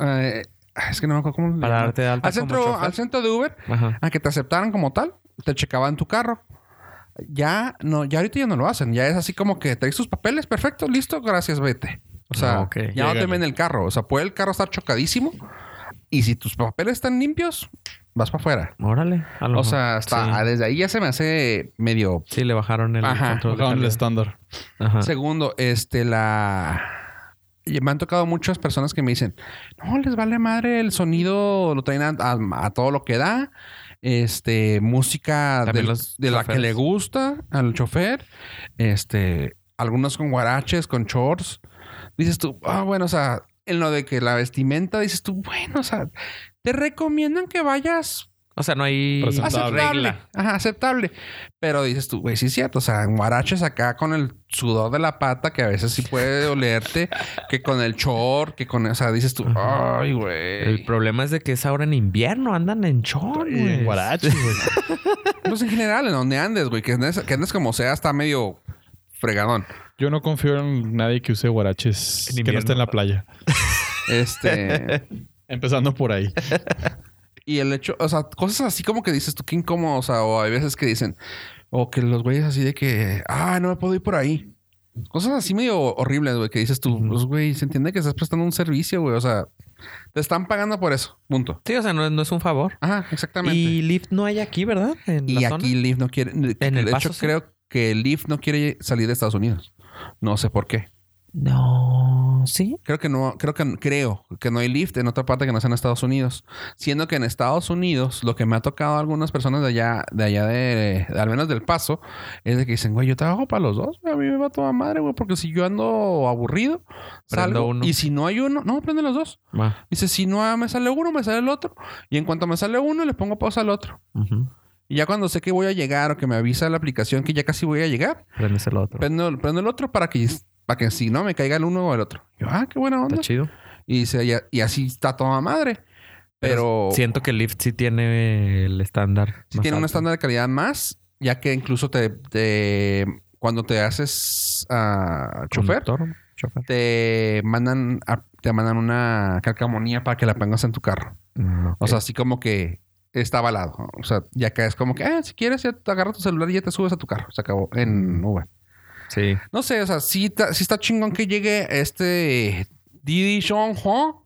Speaker 2: eh, es que no me acuerdo cómo. le
Speaker 4: Para
Speaker 2: llaman.
Speaker 4: darte de alta
Speaker 2: al
Speaker 4: como
Speaker 2: centro,
Speaker 4: chofer.
Speaker 2: al centro de Uber,
Speaker 4: Ajá.
Speaker 2: a que te aceptaran como tal, te checaban tu carro. Ya no, ya ahorita ya no lo hacen. Ya es así como que traes tus papeles, perfecto, listo, gracias, vete. O sea,
Speaker 4: Ah, ok.
Speaker 2: ya no te
Speaker 3: Llégale.
Speaker 2: ven el carro. O sea, puede el carro estar chocadísimo. Y si tus papeles están limpios, vas para afuera.
Speaker 4: Órale. a lo
Speaker 2: O sea,
Speaker 4: mejor.
Speaker 2: hasta
Speaker 4: Sí.
Speaker 2: ah, desde ahí ya se me hace medio.
Speaker 4: Sí, le bajaron el
Speaker 2: Ajá,
Speaker 4: control de
Speaker 3: Con el
Speaker 4: calidad.
Speaker 3: estándar.
Speaker 4: Ajá.
Speaker 2: Segundo, este, la. y Me han tocado muchas personas que me dicen, no, les vale madre el sonido, lo traen a, a- a todo lo que da. Este, música
Speaker 4: También
Speaker 2: del-
Speaker 4: los
Speaker 2: de la que
Speaker 4: choferes.
Speaker 2: le gusta al chofer. Este, algunos con guaraches, con shorts. Dices tú, ah, bueno, o sea, en lo de que la vestimenta, dices tú, bueno, o sea, te recomiendan que vayas
Speaker 4: O sea, no hay eh,
Speaker 2: Ah,
Speaker 3: Presentable.
Speaker 4: regla.
Speaker 2: aceptable. Ajá, aceptable. Pero dices tú, güey, sí es cierto. O sea, en guaraches acá con el sudor de la pata, que a veces sí puede olerte, que con el short, que con... O sea, dices tú,
Speaker 4: Ajá.
Speaker 2: ay,
Speaker 4: El
Speaker 2: güey.
Speaker 4: problema es de que es ahora en invierno, andan en short,
Speaker 3: Y en
Speaker 4: güey.
Speaker 3: guaraches, güey.
Speaker 2: Pues en general, en donde andes, güey, que andes, que andes como sea, está medio fregadón.
Speaker 3: Yo no confío en nadie que use guaraches
Speaker 4: En
Speaker 3: que no esté en
Speaker 4: invierno.
Speaker 3: la playa.
Speaker 2: Este...
Speaker 3: Empezando por ahí.
Speaker 2: y el hecho... O sea, cosas así como que dices tú, qué incómodo. O sea, o hay veces que dicen... O que los güeyes así de que... Ah, no me puedo ir por ahí. Cosas así medio horribles, güey, que dices tú...
Speaker 4: Ujú.
Speaker 2: Pues, güey, se entiende que estás prestando un servicio, güey. O sea... Te están pagando por eso. Punto.
Speaker 4: Sí, o sea, no, no es un favor.
Speaker 2: Ajá, exactamente.
Speaker 4: Y
Speaker 2: Y,
Speaker 4: Lyft no hay aquí, ¿verdad? En la zona.
Speaker 2: aquí Leaf no quiere...
Speaker 4: En El
Speaker 2: de
Speaker 4: Paso,
Speaker 2: hecho,
Speaker 4: sí.
Speaker 2: creo que Leaf no quiere salir de Estados Unidos. No sé por qué.
Speaker 4: No. sí?
Speaker 2: Creo que no, creo que creo que no hay Lyft en otra parte que no sea en Estados Unidos. Siendo que en Estados Unidos, lo que me ha tocado a algunas personas de allá, de allá de, de- al menos del paso, es de que dicen, güey, yo trabajo para los dos, güey, a mí me va a tomar madre, güey, porque si yo ando aburrido,
Speaker 4: Prendo
Speaker 2: salgo
Speaker 4: uno.
Speaker 2: y si no hay uno, no, prende los dos.
Speaker 4: Va.
Speaker 2: Dice, si no me sale uno, me sale el otro. Y en cuanto me sale uno, le pongo pausa al otro.
Speaker 4: Ujú.
Speaker 2: Y ya cuando sé que voy a llegar o que me avisa la aplicación que ya casi voy a llegar,
Speaker 4: Prendes el otro.
Speaker 2: prendo, prendo el otro para que, para que si no me caiga el uno o el otro. Yo, ah, qué buena onda.
Speaker 4: Está chido.
Speaker 2: Y, dice, y, y así está toda madre. Pero,
Speaker 4: Siento que Lyft sí tiene el estándar.
Speaker 2: si
Speaker 4: más
Speaker 2: tiene un
Speaker 4: alto.
Speaker 2: estándar de calidad más, ya que incluso te, te- cuando te haces ah, chofer,
Speaker 4: Conductor, chofer.
Speaker 2: te mandan a- te mandan una calcamonía para que la pongas en tu carro.
Speaker 4: Mm, ok.
Speaker 2: O sea, así como que está avalado. O sea, ya que es como que, "Ah, si quieres, ya te agarras tu celular y ya te subes a tu carro. Se acabó en
Speaker 4: Mm.
Speaker 2: Uber.
Speaker 4: sí.
Speaker 2: No sé, o sea, sí, ta- sí está chingón que llegue este Didi Sean Ho.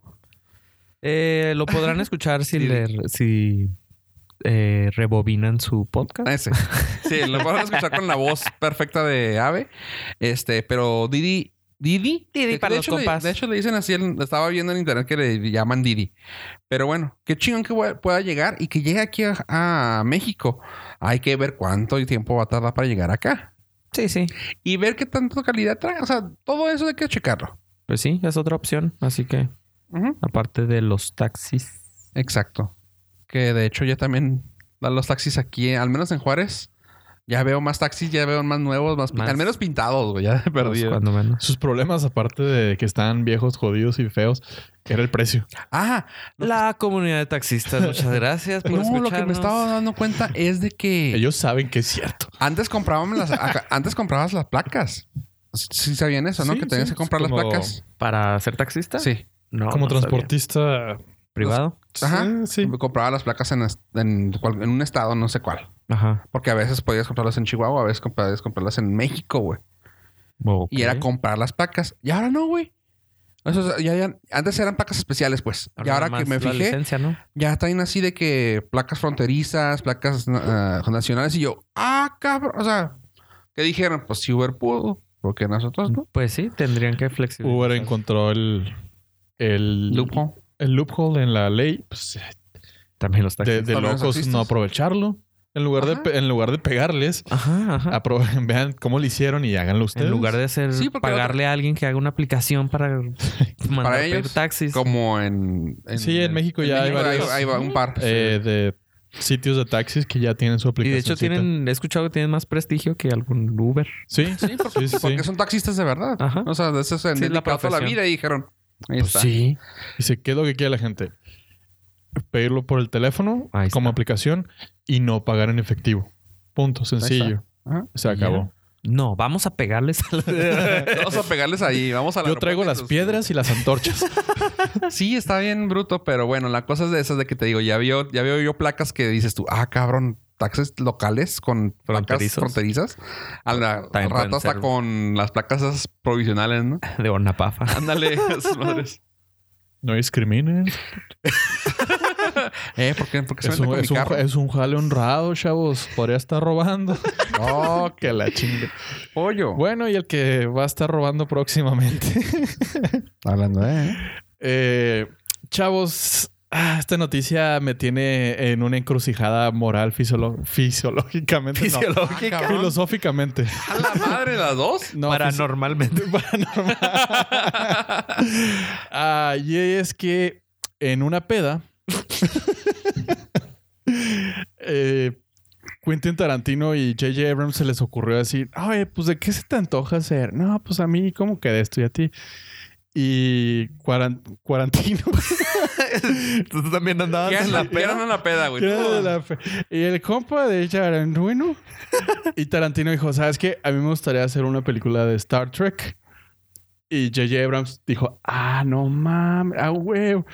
Speaker 4: Eh, lo podrán escuchar si
Speaker 2: Sí.
Speaker 4: le- si eh, rebobinan su podcast.
Speaker 2: Ah, Ese. Sí, lo podemos escuchar con la voz perfecta de Ave. Este, pero Didi. Didi.
Speaker 4: Didi
Speaker 2: De-
Speaker 4: para
Speaker 2: de
Speaker 4: los
Speaker 2: hecho, le-
Speaker 4: compas.
Speaker 2: de hecho, le dicen así. el- Estaba viendo en internet que le llaman Didi. Pero bueno, qué chingón que voy- pueda llegar y que llegue aquí a, a México. Hay que ver cuánto tiempo va a tardar para llegar acá.
Speaker 4: Sí, sí.
Speaker 2: Y ver qué tanta calidad trae. O sea, todo eso hay que checarlo.
Speaker 4: Pues sí, es otra opción. Así que,
Speaker 2: Ujú.
Speaker 4: aparte de los taxis.
Speaker 2: Exacto. Que de hecho ya también dan los taxis aquí, al menos en Juárez. Ya veo más taxis, ya veo más nuevos, más, pin-
Speaker 4: Más.
Speaker 2: al menos pintados, güey, ya de
Speaker 4: pues,
Speaker 2: perdido.
Speaker 4: cuando menos.
Speaker 3: Sus problemas, aparte de que están viejos, jodidos y feos, era el precio.
Speaker 2: Ah,
Speaker 4: La comunidad de taxistas, muchas gracias por
Speaker 2: no, lo que me
Speaker 4: escucharnos.
Speaker 2: estaba dando cuenta es de que
Speaker 3: Ellos saben que es cierto.
Speaker 2: antes comprábamos las acá- antes comprabas las placas. Sí sabían eso, ¿no?
Speaker 3: Sí,
Speaker 2: que tenías
Speaker 3: sí,
Speaker 2: que comprar las
Speaker 3: como-
Speaker 2: placas.
Speaker 4: ¿Para ser taxista?
Speaker 2: Sí.
Speaker 4: No,
Speaker 3: Como
Speaker 4: no
Speaker 3: transportista.
Speaker 4: sabía. ¿Privado?
Speaker 2: Ajá.
Speaker 3: Sí, sí.
Speaker 2: Compraba las placas en, est- en cual- en un estado, no sé cuál.
Speaker 4: Ajá.
Speaker 2: Porque a veces podías comprarlas en Chihuahua, a veces comp- podías comprarlas en México, güey.
Speaker 4: Ok.
Speaker 2: Y era comprar las placas. Y ahora no, güey. O sea, ya- ya- antes eran placas especiales, pues. y ahora
Speaker 4: nada
Speaker 2: que
Speaker 4: más
Speaker 2: me
Speaker 4: la
Speaker 2: fijé,
Speaker 4: licencia, ¿no?
Speaker 2: ya traen así de que placas fronterizas, placas ah, nacionales. Y yo, ah, cabrón. O sea, que dijeron, pues si Uber pudo, porque nosotros no.
Speaker 4: Pues sí, tendrían que flexibilizar.
Speaker 3: Uber encontró el, el,
Speaker 2: Loophole.
Speaker 3: el loophole en la ley. Pues,
Speaker 4: También los
Speaker 3: de,
Speaker 4: taxistas.
Speaker 3: de
Speaker 2: Para los
Speaker 3: locos
Speaker 2: taxistas.
Speaker 3: no aprovecharlo. En lugar, de,
Speaker 2: Ajá.
Speaker 3: pe- en lugar de pegarles,
Speaker 4: Ajá, ajá.
Speaker 3: apro- vean cómo lo hicieron y háganlo ustedes.
Speaker 4: En lugar de hacer
Speaker 2: Sí, porque
Speaker 4: pagarle a alguien que haga una aplicación para mandar
Speaker 2: Para
Speaker 4: pedir
Speaker 2: ellos,
Speaker 4: taxis.
Speaker 2: Como en,
Speaker 3: Sí, en México ya hay varios.
Speaker 2: Hay, un par.
Speaker 3: eh, de sitios de taxis que ya tienen su
Speaker 4: Y
Speaker 3: aplicación.
Speaker 4: de hecho tienen, he escuchado que tienen más prestigio que algún Uber.
Speaker 3: Sí,
Speaker 2: sí, porque,
Speaker 3: sí, sí.
Speaker 2: porque son taxistas de verdad.
Speaker 4: Ajá.
Speaker 2: O sea, de eso se han
Speaker 4: Sí, es la
Speaker 2: dedicado toda la
Speaker 4: profesión.
Speaker 2: vida y dijeron, ahí
Speaker 4: Pues
Speaker 2: está.
Speaker 4: sí.
Speaker 3: Dice, ¿qué es lo que quiere la gente? Pedirlo por el teléfono
Speaker 4: Ahí
Speaker 3: como
Speaker 4: está.
Speaker 3: aplicación y no pagar en efectivo. Punto, sencillo.
Speaker 2: Ajá.
Speaker 3: Se acabó.
Speaker 4: No, vamos a pegarles a la...
Speaker 2: Vamos a pegarles ahí, vamos a la
Speaker 3: Yo traigo las piedras y las antorchas.
Speaker 2: Sí, está bien bruto, pero bueno, la cosa es de esas de que te digo, ya vio, ya veo yo placas que dices tú, ah, cabrón, taxes locales con placas
Speaker 4: Fronterizos.
Speaker 2: fronterizas. A la
Speaker 4: También
Speaker 2: al rato
Speaker 4: pueden
Speaker 2: hasta
Speaker 4: ser.
Speaker 2: con las placas esas provisionales, ¿no?
Speaker 4: de Ornapafa.
Speaker 2: Ándale, esas madres.
Speaker 3: No discriminen.
Speaker 2: Eh, ¿por qué? ¿Por qué se
Speaker 3: Es
Speaker 2: meten
Speaker 3: un,
Speaker 2: con mi
Speaker 3: es, un,
Speaker 2: carro?
Speaker 3: es un jale honrado, chavos. Podría estar robando.
Speaker 2: Oh,
Speaker 3: que la chinga.
Speaker 2: pollo.
Speaker 3: Bueno, y el que va a estar robando próximamente.
Speaker 2: Hablando de...
Speaker 3: Eh, chavos, ah, esta noticia me tiene en una encrucijada moral fisiolo- fisiológicamente. no.
Speaker 2: Fisiológica. Ah, cabrón.
Speaker 3: Filosóficamente.
Speaker 2: A la madre, las dos.
Speaker 3: No, fisi-
Speaker 4: Paranormalmente.
Speaker 3: paranormal. Ah, y es que en una peda, eh, Quentin Tarantino y J.J. Abrams se les ocurrió decir, oye, pues ¿de qué se te antoja hacer? No, pues a mí, ¿cómo que de esto y a ti? Y cuaran- Cuarantino.
Speaker 4: Tú también
Speaker 3: Ah,
Speaker 4: andabas
Speaker 2: ¿Quién la pierna la peda, güey?
Speaker 3: Era de la fe- Y el compa de Tarantino. y Tarantino dijo, ¿sabes qué? A mí me gustaría hacer una película de Star Trek. Y J.J. Abrams dijo, ah, no mames, ah, huevo,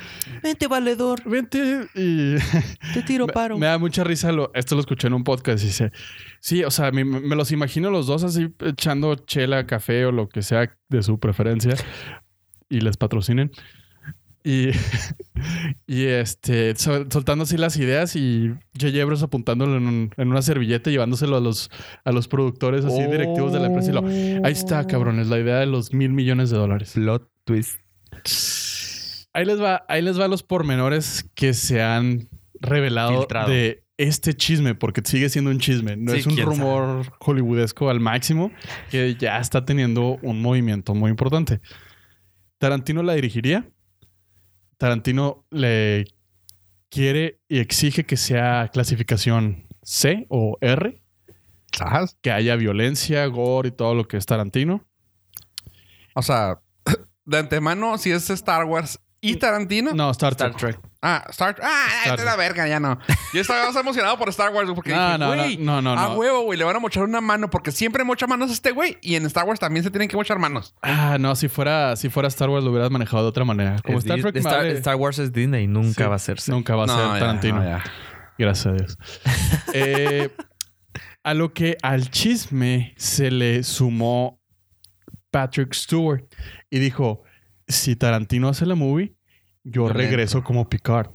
Speaker 4: Vente, valedor.
Speaker 3: vente. Y
Speaker 4: Te tiro paro.
Speaker 3: me da mucha risa, lo- esto lo escuché en un podcast y dice, sí, o sea, me, me los imagino los dos así echando chela, café o lo que sea de su preferencia y les patrocinen. Y, y este, sol- soltando así las ideas y J.J. Abrams apuntándolo en, un- en una servilleta y llevándoselo a los, a los productores así directivos de la empresa y lo, ahí está, cabrones, la idea de los mil millones de dólares.
Speaker 4: Plot twist.
Speaker 3: Ahí les va, ahí les va los pormenores que se han revelado
Speaker 4: Filtrado.
Speaker 3: de este chisme, porque sigue siendo un chisme. No
Speaker 4: Sí,
Speaker 3: es un
Speaker 4: quién
Speaker 3: rumor hollywoodesco al máximo que ya está teniendo un movimiento muy importante. Tarantino la dirigiría. Tarantino le quiere y exige que sea clasificación C o R
Speaker 2: ¿Sabes?
Speaker 3: que haya violencia, gore y todo lo que es Tarantino.
Speaker 2: O sea, de antemano, si es Star Wars y Tarantino.
Speaker 3: Mm, No, Star Trek.
Speaker 2: Ah, Star Trek. Ah,
Speaker 3: Star
Speaker 2: esta es la verga, ya no. Yo estaba más emocionado por Star Wars porque
Speaker 3: No,
Speaker 2: dije,
Speaker 3: no,
Speaker 2: güey,
Speaker 3: no, no, no,
Speaker 2: a
Speaker 3: no.
Speaker 2: Ah, huevo, güey, le van a mochar una mano porque siempre mocha manos este güey y en Star Wars también se tienen que mochar manos.
Speaker 3: Ah, no, si fuera, si fuera Star Wars lo hubieras manejado de otra manera. Como
Speaker 4: Es
Speaker 3: Star
Speaker 4: Di-
Speaker 3: Trek
Speaker 4: Star,
Speaker 3: madre,
Speaker 4: Star Wars es Disney, nunca
Speaker 3: Sí.
Speaker 4: va a ser. sí.
Speaker 3: nunca va a
Speaker 2: No,
Speaker 3: ser
Speaker 2: ya,
Speaker 3: Tarantino.
Speaker 2: no, ya.
Speaker 3: Gracias a Dios. Eh, a lo que al chisme se le sumó Patrick Stewart y dijo: Si Tarantino hace la movie, yo
Speaker 2: Yo
Speaker 3: regreso como Picard.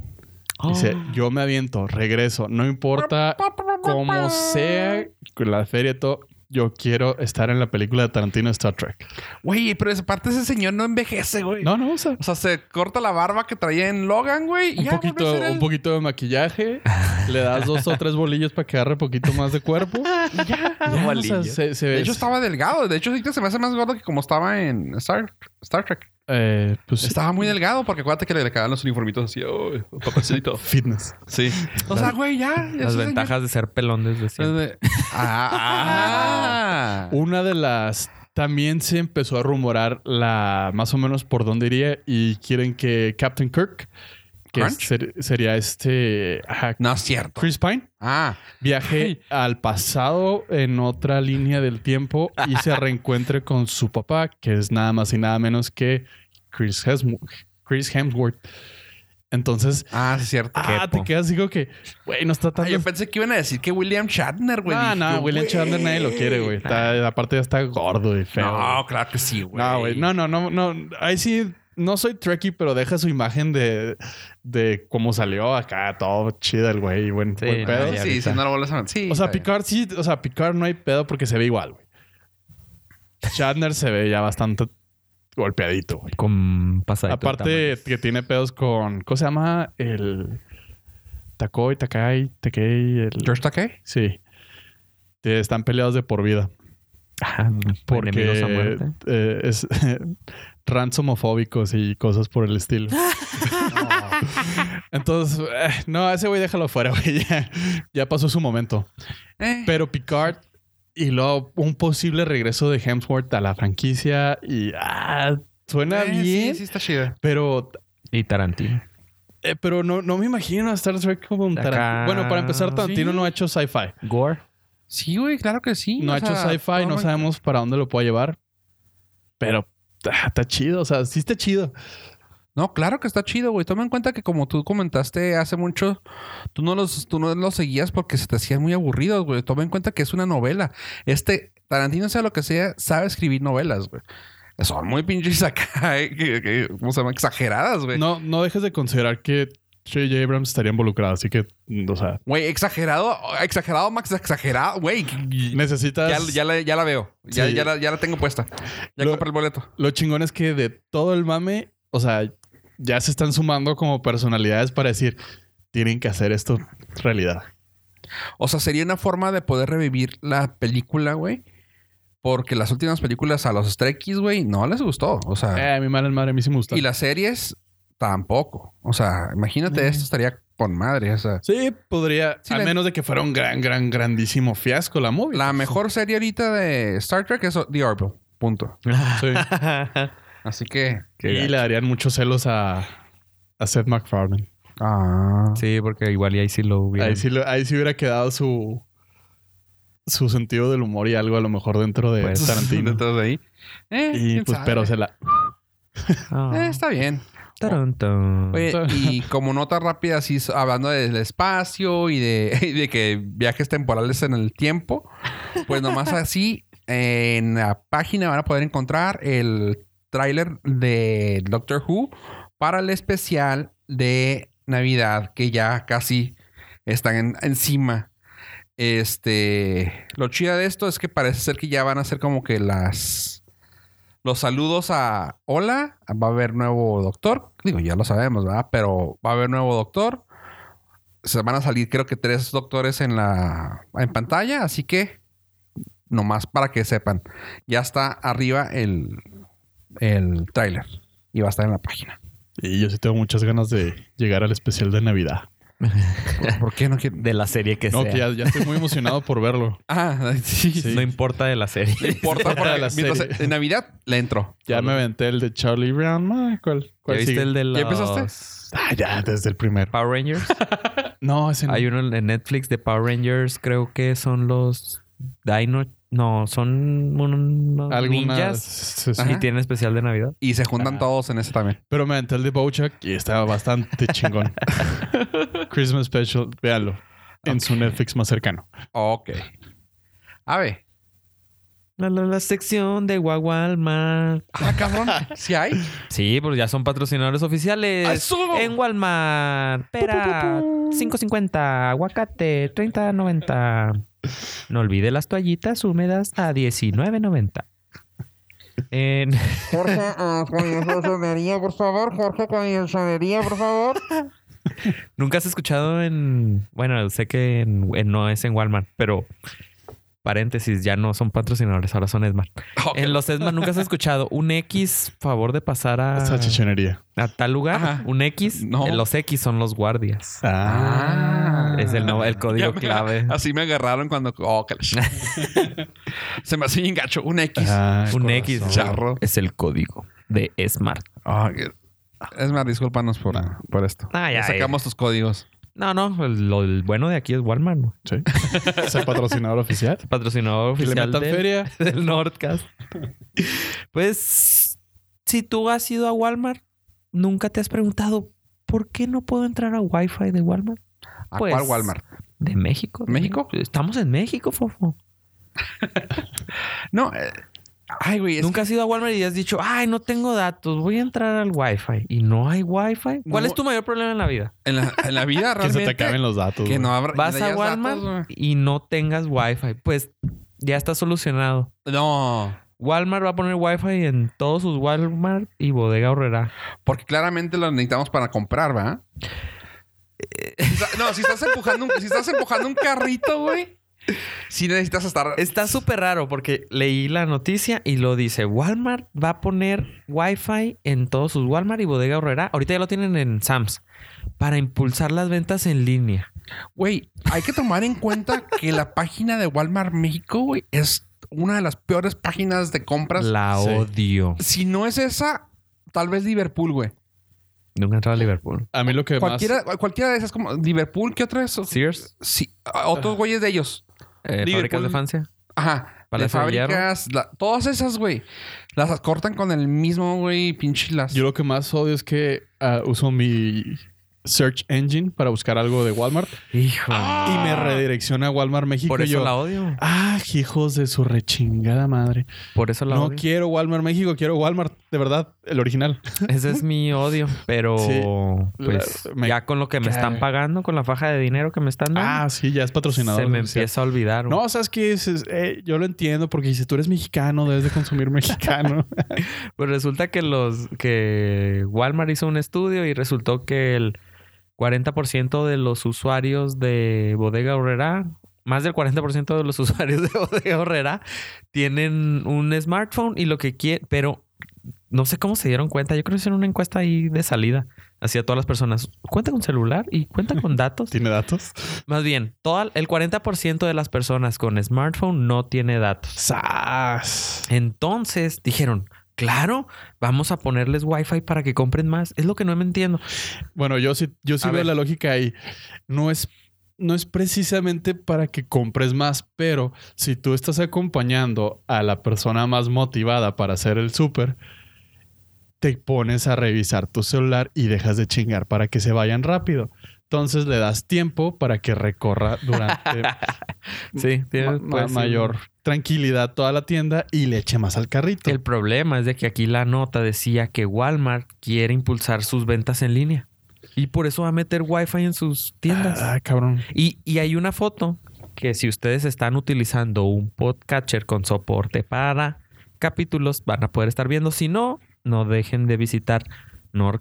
Speaker 3: Dice, yo me aviento, regreso. No importa cómo sea con la feria y todo. Yo quiero estar en la película de Tarantino Star Trek.
Speaker 2: Güey, pero esa parte ese señor no envejece, güey.
Speaker 3: No, no, o sea,
Speaker 2: O sea, se corta la barba que traía en Logan, güey. y
Speaker 3: un
Speaker 2: ya volvió a
Speaker 3: poquito,
Speaker 2: ser él.
Speaker 3: un poquito de maquillaje, le das dos o tres bolillos para que agarre poquito más de cuerpo. y ya, ya, o sea,
Speaker 4: Bolillos.
Speaker 3: se, se
Speaker 2: De
Speaker 3: ve.
Speaker 2: hecho, estaba delgado. De hecho, ahorita se me hace más gordo que como estaba en Star, Star Trek.
Speaker 3: eh, pues,
Speaker 2: Estaba muy delgado porque acuérdate que le quedaban los uniformitos así, oh, papacito.
Speaker 3: fitness.
Speaker 2: Sí. O sea, güey, ya. ya
Speaker 4: Las
Speaker 2: ese
Speaker 4: ventajas de ser pelón desde
Speaker 2: señor-
Speaker 4: siempre.
Speaker 2: Desde- Ah, ah.
Speaker 3: Una de las. También se empezó a rumorar la más o menos por dónde iría y quieren que Captain Kirk, que
Speaker 2: Crunch?
Speaker 3: ser- sería este ajá,
Speaker 2: No es cierto.
Speaker 3: Chris Pine,
Speaker 2: Ah,
Speaker 3: viaje al pasado en otra línea del tiempo y se reencuentre con su papá, que es nada más y nada menos que Chris, Hemsworth- Chris Hemsworth. Entonces,
Speaker 2: ah, sí es cierto.
Speaker 3: ah,
Speaker 4: po.
Speaker 3: te quedas digo que, güey, no está tan...
Speaker 2: Ah, yo pensé que iban a decir que William Shatner, güey.
Speaker 3: Ah,
Speaker 2: Dije,
Speaker 3: no, William
Speaker 2: güey.
Speaker 3: Chandler nadie lo quiere, güey. Está- Aparte ya está gordo y feo.
Speaker 2: No, claro que sí, güey.
Speaker 3: No, güey. No, no, no, no. Ahí sí, no soy Trekkie, pero deja su imagen de, de cómo salió acá, todo chido el güey. y Buen,
Speaker 4: Sí,
Speaker 3: buen pedo.
Speaker 4: no, ya
Speaker 2: Sí,
Speaker 4: ahorita.
Speaker 2: si no lo vuelves a Sí.
Speaker 3: O sea,
Speaker 2: está bien.
Speaker 3: Picard sí, o sea, Picard no hay pedo porque se ve igual, güey. Shatner se ve ya bastante golpeadito, güey.
Speaker 4: Con pasadito. de
Speaker 3: Aparte que tiene pedos con, ¿cómo se llama? El Takoi, Takai, Takei, el...
Speaker 2: ¿George Takei?
Speaker 3: Sí. Te- Están peleados de por vida.
Speaker 4: tamaños. Enemigos a
Speaker 3: Porque
Speaker 4: muerte.
Speaker 3: eh, es ransomofóbicos y cosas por el estilo. Entonces, eh, no, ese güey déjalo fuera, güey. Ya- ya pasó su momento.
Speaker 2: Eh.
Speaker 3: Pero Picard y luego un posible regreso de Hemsworth a la franquicia y ah, suena
Speaker 2: Eh,
Speaker 3: bien,
Speaker 2: Sí, sí, está chida.
Speaker 3: pero
Speaker 4: Y Tarantino.
Speaker 3: eh, pero no, no me imagino a Star Trek como un
Speaker 4: Acá,
Speaker 3: Tarantino. Bueno, para empezar, Tarantino
Speaker 2: sí.
Speaker 3: no ha hecho sci-fi.
Speaker 4: Gore.
Speaker 2: Sí, güey, claro que sí.
Speaker 3: No
Speaker 2: o
Speaker 3: ha hecho
Speaker 2: sea,
Speaker 3: sci-fi, no
Speaker 2: toma-
Speaker 3: sabemos para dónde lo pueda llevar. Pero ah, está chido, o sea, sí está chido.
Speaker 2: No, claro que está chido, güey. Toma en cuenta que como tú comentaste hace mucho, tú no los, tú no los seguías porque se te hacían muy aburridos, güey. Toma en cuenta que es una novela. Este, Tarantino, sea lo que sea, sabe escribir novelas, güey. Son muy pinches acá, eh, que- que- ¿cómo se llama? Exageradas, güey.
Speaker 3: No, no dejes de considerar que J.J. Abrams estaría involucrado, así que, o sea,
Speaker 2: Güey, exagerado, exagerado, Max, exagerado, güey.
Speaker 3: necesitas...
Speaker 2: Ya, ya la, ya la veo. Ya,
Speaker 3: Sí.
Speaker 2: ya, la, ya la tengo puesta. Ya
Speaker 3: Lo-
Speaker 2: compré el boleto.
Speaker 3: Lo chingón es que de todo el mame, o sea, ya se están sumando como personalidades para decir, tienen que hacer esto realidad.
Speaker 2: O sea, sería una forma de poder revivir la película, güey. Porque las últimas películas a los Strekkies, güey, no les gustó. O sea,
Speaker 3: Eh, mi madre, madre, a mí sí me gusta.
Speaker 2: Ah. Y las series tampoco. O sea, imagínate,
Speaker 3: Mm.
Speaker 2: esto estaría con madre. O sea,
Speaker 3: Sí, podría,
Speaker 2: Sí,
Speaker 3: a
Speaker 2: la-
Speaker 3: menos de que fuera un gran, gran, grandísimo fiasco la movie.
Speaker 2: la mejor serie ahorita de Star Trek es The Orville. Punto.
Speaker 3: Sí.
Speaker 2: Así que.
Speaker 4: Qué
Speaker 3: y
Speaker 4: gacho.
Speaker 3: le darían muchos celos a, a Seth MacFarlane.
Speaker 2: Ah.
Speaker 4: Sí, porque igual y ahí sí lo hubiera.
Speaker 3: Ahí sí, lo- ahí sí hubiera quedado su su sentido del humor y algo a lo mejor dentro de
Speaker 4: Pues,
Speaker 3: Tarantino.
Speaker 2: Entonces ahí. Eh,
Speaker 3: Y
Speaker 2: quién
Speaker 3: pues,
Speaker 2: sabe.
Speaker 3: pero se la...
Speaker 4: Ah,
Speaker 2: Eh, está bien.
Speaker 4: Tarantino.
Speaker 2: Oye, y como nota rápida, así hablando del espacio y de, y de que viajes temporales en el tiempo, pues nomás así eh, en la página van a poder encontrar el tráiler de Doctor Who para el especial de Navidad que ya casi están en- encima. Este, lo chida de esto es que parece ser que ya van a ser como que las Los saludos a Hola. Va a haber nuevo doctor. Digo, ya lo sabemos, ¿verdad? Pero va a haber nuevo doctor. Se van a salir, creo que tres doctores en la en pantalla. Así que, nomás para que sepan, ya está arriba el, el tráiler. Y va a estar en la página.
Speaker 3: Y yo sí tengo muchas ganas de llegar al especial de Navidad.
Speaker 2: ¿Por, por qué no quieren?
Speaker 4: De la serie que
Speaker 3: No,
Speaker 4: sea.
Speaker 3: que ya, ya estoy muy emocionado por verlo.
Speaker 2: Ah, sí.
Speaker 3: Sí.
Speaker 4: No importa de la serie.
Speaker 2: No importa, porque
Speaker 3: La
Speaker 2: mientras-
Speaker 3: serie.
Speaker 2: en Navidad le entro.
Speaker 3: Ya me aventé el de Charlie Brown. Ah, ¿Cuál,
Speaker 4: ¿Ya
Speaker 3: cuál
Speaker 4: viste
Speaker 3: sigue?
Speaker 4: el de los
Speaker 2: ¿Ya empezaste?
Speaker 3: Ah, ya, desde el primero.
Speaker 4: Power Rangers?
Speaker 3: No, ese no.
Speaker 4: Hay uno en Netflix de Power Rangers, creo que son los Dino... No, son unos
Speaker 3: Algunas-
Speaker 4: ninjas
Speaker 3: sí, sí.
Speaker 2: Ajá.
Speaker 4: y tienen especial de Navidad.
Speaker 2: Y se juntan
Speaker 3: Ah.
Speaker 2: todos en ese también.
Speaker 3: Pero me aventé el de Bojack y estaba bastante chingón. Christmas Special, véanlo. En su Netflix más cercano.
Speaker 2: Ok. A ver.
Speaker 4: La, la, la sección de Walmart.
Speaker 2: Ah, cabrón. Si hay.
Speaker 4: Sí, pues ya son patrocinadores oficiales.
Speaker 2: ¡Ay, subo!
Speaker 4: En Walmart. Pera, 5.50. Aguacate, 30.90. No olvide las toallitas húmedas a 19.90. En...
Speaker 5: Jorge, ah, con enfermería, por favor. Jorge, con enfermería, por favor.
Speaker 4: Nunca has escuchado en. Bueno, sé que en- en- no es en Walmart, pero. Paréntesis, ya no son patrocinadores, ahora son Esmar.
Speaker 2: Ok.
Speaker 4: En los Esmar nunca has escuchado un X favor de pasar a,
Speaker 3: Esa chichonería.
Speaker 4: a tal lugar.
Speaker 2: Ajá.
Speaker 4: Un X.
Speaker 2: No.
Speaker 4: En los X son los guardias.
Speaker 2: Ah.
Speaker 4: Es el, no- el
Speaker 2: Ya
Speaker 4: código
Speaker 2: me-
Speaker 4: clave.
Speaker 2: Así me agarraron cuando. Oh, que la- se me hace un gacho. Un X.
Speaker 3: Ah,
Speaker 4: Un
Speaker 3: corazón.
Speaker 4: X.
Speaker 2: Charro.
Speaker 4: Es el código de Smart.
Speaker 2: Ah, que- Es más, discúlpanos por, por esto.
Speaker 4: Ah, ya,
Speaker 2: Sacamos tus códigos.
Speaker 4: No, no. El, lo- el bueno de aquí es Walmart. güey.
Speaker 3: Sí. Es el patrocinador oficial.
Speaker 4: Patrocinador
Speaker 3: Que le
Speaker 4: oficial
Speaker 3: metan
Speaker 4: del-
Speaker 3: feria.
Speaker 4: del Nordcast. Pues, si tú has ido a Walmart, nunca te has preguntado por qué no puedo entrar a Wi-Fi de Walmart
Speaker 2: ¿A
Speaker 4: Pues-
Speaker 2: cuál Walmart?
Speaker 4: de México.
Speaker 2: ¿México?
Speaker 4: Estamos en México, fofo.
Speaker 2: No. eh, Ay, güey. es
Speaker 4: Nunca has ido a Walmart y has dicho, ay, no tengo datos, voy a entrar al Wi-Fi y no hay Wi-Fi. ¿Cuál
Speaker 2: No.
Speaker 4: es tu mayor problema en la vida?
Speaker 2: que En la, en la vida
Speaker 3: Que
Speaker 2: realmente.
Speaker 3: se te acaben los datos.
Speaker 2: que
Speaker 3: güey.
Speaker 2: no habrá.
Speaker 4: Vas
Speaker 2: le
Speaker 4: a
Speaker 2: hayas
Speaker 4: Walmart
Speaker 2: datos,
Speaker 4: y no tengas Wi-Fi, pues ya está solucionado.
Speaker 2: güey. no.
Speaker 4: Walmart va a poner Wi-Fi en todos sus Walmart y bodega horrera.
Speaker 2: Porque claramente lo necesitamos para comprar, ¿verdad?
Speaker 4: Eh.
Speaker 2: Si está- No, si estás empujando un, si estás empujando un carrito, güey. Si necesitas estar.
Speaker 4: Está súper raro porque leí la noticia y lo dice. Walmart va a poner Wi-Fi en todos sus Walmart y Bodega Horrera. Ahorita ya lo tienen en Sams. Para impulsar las ventas en línea.
Speaker 2: Güey, hay que tomar en cuenta que la página de Walmart México, güey, es una de las peores páginas de compras.
Speaker 4: La
Speaker 3: Sí.
Speaker 4: odio.
Speaker 2: Si no es esa, tal vez Liverpool, güey.
Speaker 4: Nunca he entrado a Liverpool.
Speaker 3: A mí lo que más...
Speaker 2: Cualquiera, cualquiera de esas, como Liverpool, ¿qué otra es?
Speaker 4: Sears.
Speaker 2: Sí, a- otros güeyes de ellos.
Speaker 4: eh,
Speaker 2: Liverpool.
Speaker 4: fábricas de Francia.
Speaker 2: Ajá. De
Speaker 4: Palacio de Hierro.
Speaker 2: fábricas, la- todas esas, güey. Las cortan con el mismo, güey, pinche las.
Speaker 3: Yo lo que más odio es que ah, uso mi search engine para buscar algo de Walmart
Speaker 4: Hijo.
Speaker 3: Ah, y me redirecciona a Walmart México.
Speaker 4: Por
Speaker 3: y
Speaker 4: eso
Speaker 3: yo,
Speaker 4: la odio.
Speaker 3: Ah, hijos de su rechingada madre.
Speaker 4: Por eso la
Speaker 3: No
Speaker 4: odio. Ah,
Speaker 3: quiero Walmart México, quiero Walmart, de verdad, el original.
Speaker 4: Ese es mi odio. Pero
Speaker 3: Sí.
Speaker 4: pues
Speaker 3: La- me-
Speaker 4: ya con lo que me están
Speaker 3: Ay.
Speaker 4: pagando, con la faja de dinero que me están dando,
Speaker 3: Ah, sí, ya es patrocinador.
Speaker 4: se me
Speaker 3: oficial.
Speaker 4: empieza a olvidar. güey.
Speaker 3: No, sabes que eh, yo lo entiendo porque dice tú eres mexicano, debes de consumir mexicano.
Speaker 4: Pues resulta que los que Walmart hizo un estudio y resultó que el 40% de los usuarios de Bodega Horrera, más del 40% de los usuarios de Bodega Horrera tienen un smartphone y lo que quieren, pero no sé cómo se dieron cuenta, yo creo que hicieron una encuesta ahí de salida hacia todas las personas. ¿Cuenta con celular y cuenta con datos?
Speaker 3: ¿Tiene datos?
Speaker 4: Más bien, toda, el 40% de las personas con smartphone no tiene datos.
Speaker 3: ¡Sas!
Speaker 4: Entonces dijeron, claro, vamos a ponerles wifi para que compren más. Es lo que no me entiendo.
Speaker 3: Bueno, yo sí, yo sí
Speaker 2: A
Speaker 3: veo
Speaker 2: ver.
Speaker 3: la lógica ahí. No es, no es precisamente para que compres más, pero si tú estás acompañando a la persona más motivada para hacer el súper, te pones a revisar tu celular y dejas de chingar para que se vayan rápido. Entonces le das tiempo para que recorra durante
Speaker 4: Sí,
Speaker 3: ma- ma- mayor tranquilidad toda la tienda y le eche más al carrito.
Speaker 4: El problema es de que aquí la nota decía que Walmart quiere impulsar sus ventas en línea y por eso va a meter wifi en sus tiendas.
Speaker 3: Ah, cabrón.
Speaker 4: Y, y hay una foto que si ustedes están utilizando un podcatcher con soporte para capítulos van a poder estar viendo. Si no, no dejen de visitar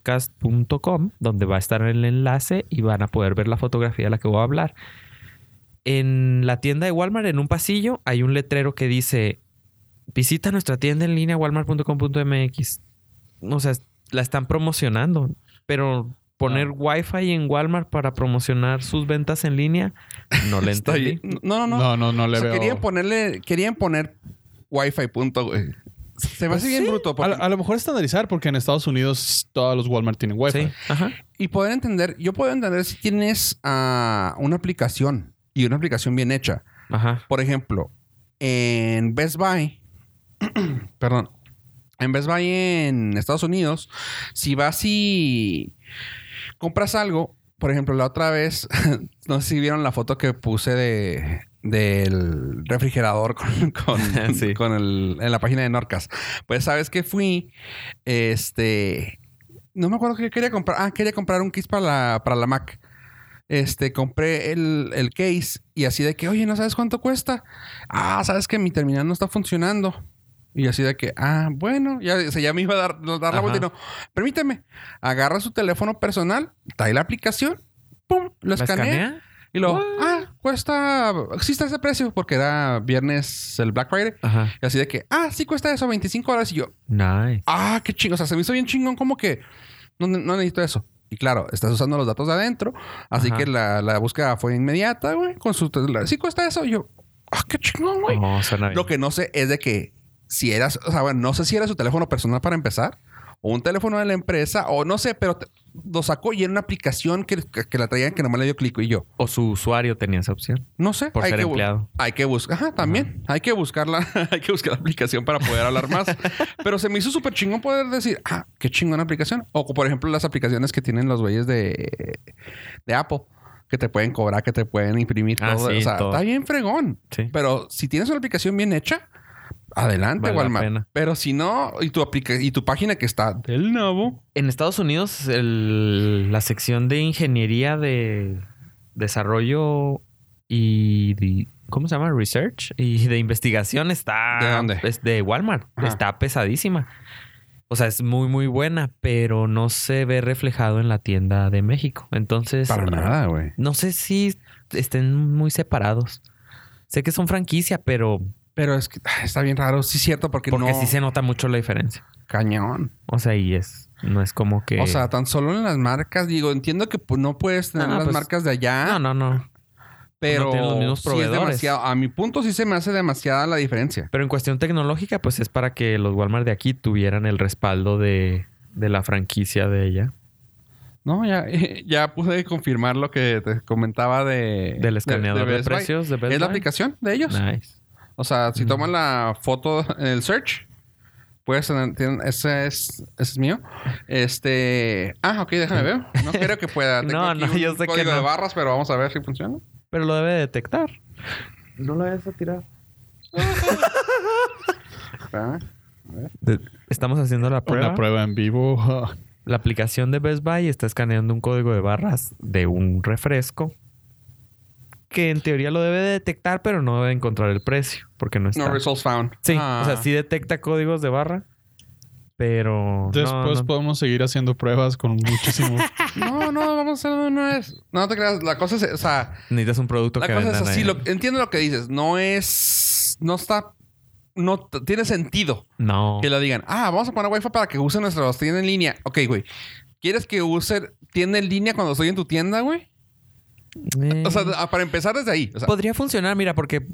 Speaker 4: norcast.com, donde va a estar el enlace y van a poder ver la fotografía de la que voy a hablar. En la tienda de Walmart, en un pasillo, hay un letrero que dice: Visita nuestra tienda en línea walmart.com.mx. O sea, la están promocionando, pero poner Wi-Fi en Walmart para promocionar sus ventas en línea, no le entendí.
Speaker 2: Estoy... No, no, no.
Speaker 3: No, no, no
Speaker 2: O
Speaker 3: le
Speaker 2: sea,
Speaker 3: veo.
Speaker 2: querían ponerle, querían poner Wi-Fi punto, güey. Se
Speaker 3: Pues
Speaker 2: me hace bien bruto.
Speaker 3: A,
Speaker 2: porque-
Speaker 3: a lo mejor estandarizar, porque en Estados Unidos todos los Walmart tienen Wi-Fi.
Speaker 4: Sí, ajá.
Speaker 2: Y poder entender, yo puedo entender si tienes ah, una aplicación y una aplicación bien hecha.
Speaker 4: Ajá.
Speaker 2: Por ejemplo, en Best Buy, perdón, en Best Buy en Estados Unidos, si vas y compras algo, por ejemplo, la otra vez, no sé si vieron la foto que puse de del refrigerador con, con-
Speaker 4: Sí.
Speaker 2: con el- en la página de Norcas. Pues sabes que fui, este, no me acuerdo qué quería comprar. Ah, quería comprar un case para la, para la Mac. Este, compré el, el case y así de que, oye, ¿no sabes cuánto cuesta? Ah, sabes que mi terminal no está funcionando. Y así de que, ah, bueno, ya, o sea, ya me iba a dar, dar la
Speaker 4: Ajá.
Speaker 2: vuelta y no. Permíteme, agarra su teléfono personal, trae la aplicación, pum, lo
Speaker 4: ¿La
Speaker 2: escanea,
Speaker 4: escanea?
Speaker 2: y luego,
Speaker 4: What?
Speaker 2: ah, cuesta, existe ese precio porque era viernes el Black Friday.
Speaker 4: Ajá.
Speaker 2: Y así de que, ah, sí cuesta eso, 25 dólares. Y yo,
Speaker 4: Nice.
Speaker 2: ah, qué chingón. O sea, se me hizo bien chingón como que no, ne- no necesito eso. Y claro, estás usando los datos de adentro. Así
Speaker 4: Ajá.
Speaker 2: que la, la búsqueda fue inmediata, güey. Con su celular. Sí cuesta eso. Y yo, ah, qué chingón, güey.
Speaker 4: No, Oh, suena bien.
Speaker 2: Lo que no sé es de que si eras... O sea, bueno, no sé si era su teléfono personal para empezar. O un teléfono de la empresa. O no sé, pero te- lo sacó y era una aplicación que, que- que la traían que nomás le dio clic. Y yo,
Speaker 4: O su usuario tenía esa opción.
Speaker 2: no sé.
Speaker 4: Por ser
Speaker 2: que bu-
Speaker 4: empleado.
Speaker 2: Hay que buscar, ajá, también. Hay que buscarla, hay que buscar la aplicación para poder hablar más. Pero se me hizo súper chingón poder decir, ah, qué chingona aplicación. O por ejemplo, las aplicaciones que tienen los güeyes de, de Apple, que te pueden cobrar, que te pueden imprimir
Speaker 4: Ah,
Speaker 2: todo.
Speaker 4: sí,
Speaker 2: o sea,
Speaker 4: todo.
Speaker 2: está bien fregón.
Speaker 4: Sí.
Speaker 2: Pero si tienes una aplicación bien hecha, adelante,
Speaker 4: Vale la
Speaker 2: Walmart.
Speaker 4: pena.
Speaker 2: Pero si no, y tu aplica y tu página que está.
Speaker 3: Del nabo.
Speaker 4: En Estados Unidos, el- la sección de ingeniería de desarrollo y de- ¿cómo se llama? Research y de investigación está
Speaker 2: ¿De dónde?
Speaker 4: es de Walmart.
Speaker 2: Ajá.
Speaker 4: Está pesadísima. O sea, es muy muy buena, pero no se ve reflejado en la tienda de México. Entonces,
Speaker 2: Para nada, güey.
Speaker 4: no sé si estén muy separados. Sé que son franquicia, pero
Speaker 2: Pero es que ah, está bien raro. Sí, es cierto, porque,
Speaker 4: porque
Speaker 2: no.
Speaker 4: sí se nota mucho la diferencia.
Speaker 2: Cañón.
Speaker 4: O sea, y es no es como que
Speaker 2: O sea, tan solo en las marcas, digo, entiendo que pues, no puedes tener
Speaker 4: No, no,
Speaker 2: las
Speaker 4: pues,
Speaker 2: marcas de allá,
Speaker 4: no, no, no.
Speaker 2: pero
Speaker 4: no tienen los mismos
Speaker 2: sí es
Speaker 4: proveedores.
Speaker 2: demasiado. A mi punto sí se me hace demasiada la diferencia.
Speaker 4: Pero en cuestión tecnológica, pues es para que los Walmart de aquí tuvieran el respaldo de, de la franquicia de ella.
Speaker 2: No, ya, ya pude confirmar lo que te comentaba de
Speaker 4: Del escaneador de,
Speaker 2: Best Buy.
Speaker 4: precios de Best
Speaker 2: Es la
Speaker 4: Buy.
Speaker 2: aplicación de ellos.
Speaker 4: Nice.
Speaker 2: O sea, si
Speaker 4: Mm.
Speaker 2: toman la foto en el search, puedes tener, tienen- ese es, ese es mío. Este, ah, ok, déjame ver. No creo que pueda. Tengo
Speaker 4: No,
Speaker 2: aquí
Speaker 4: no,
Speaker 2: un
Speaker 4: yo sé que
Speaker 2: código de
Speaker 4: no.
Speaker 2: barras, pero vamos a ver si funciona.
Speaker 4: Pero lo debe detectar. No lo debes tirar.
Speaker 2: Ah,
Speaker 4: Estamos haciendo la prueba.
Speaker 3: Una prueba en vivo.
Speaker 4: La aplicación de Best Buy está escaneando un código de barras de un refresco que en teoría lo debe detectar, pero no debe encontrar el precio porque no está.
Speaker 2: No results found.
Speaker 4: sí,
Speaker 2: Ah.
Speaker 4: o sea, sí detecta códigos de barra, pero no,
Speaker 3: Después
Speaker 4: no.
Speaker 3: pues, podemos seguir haciendo pruebas con muchísimo.
Speaker 2: No, no, vamos a hacerlo de una vez. No te creas, la cosa es, o sea,
Speaker 4: necesitas un producto
Speaker 2: la
Speaker 4: que
Speaker 2: cosa es
Speaker 4: vendan
Speaker 2: así.
Speaker 4: ahí.
Speaker 2: Lo, entiendo lo que dices. No es, no está, no t- tiene sentido
Speaker 4: No.
Speaker 2: que lo digan. Ah, vamos a poner wifi para que usen nuestra tienda en línea. Ok, güey. ¿Quieres que use tienda en línea cuando estoy en tu tienda, güey?
Speaker 4: Eh.
Speaker 2: O sea, a- para empezar desde ahí. O sea,
Speaker 4: Podría funcionar, mira, porque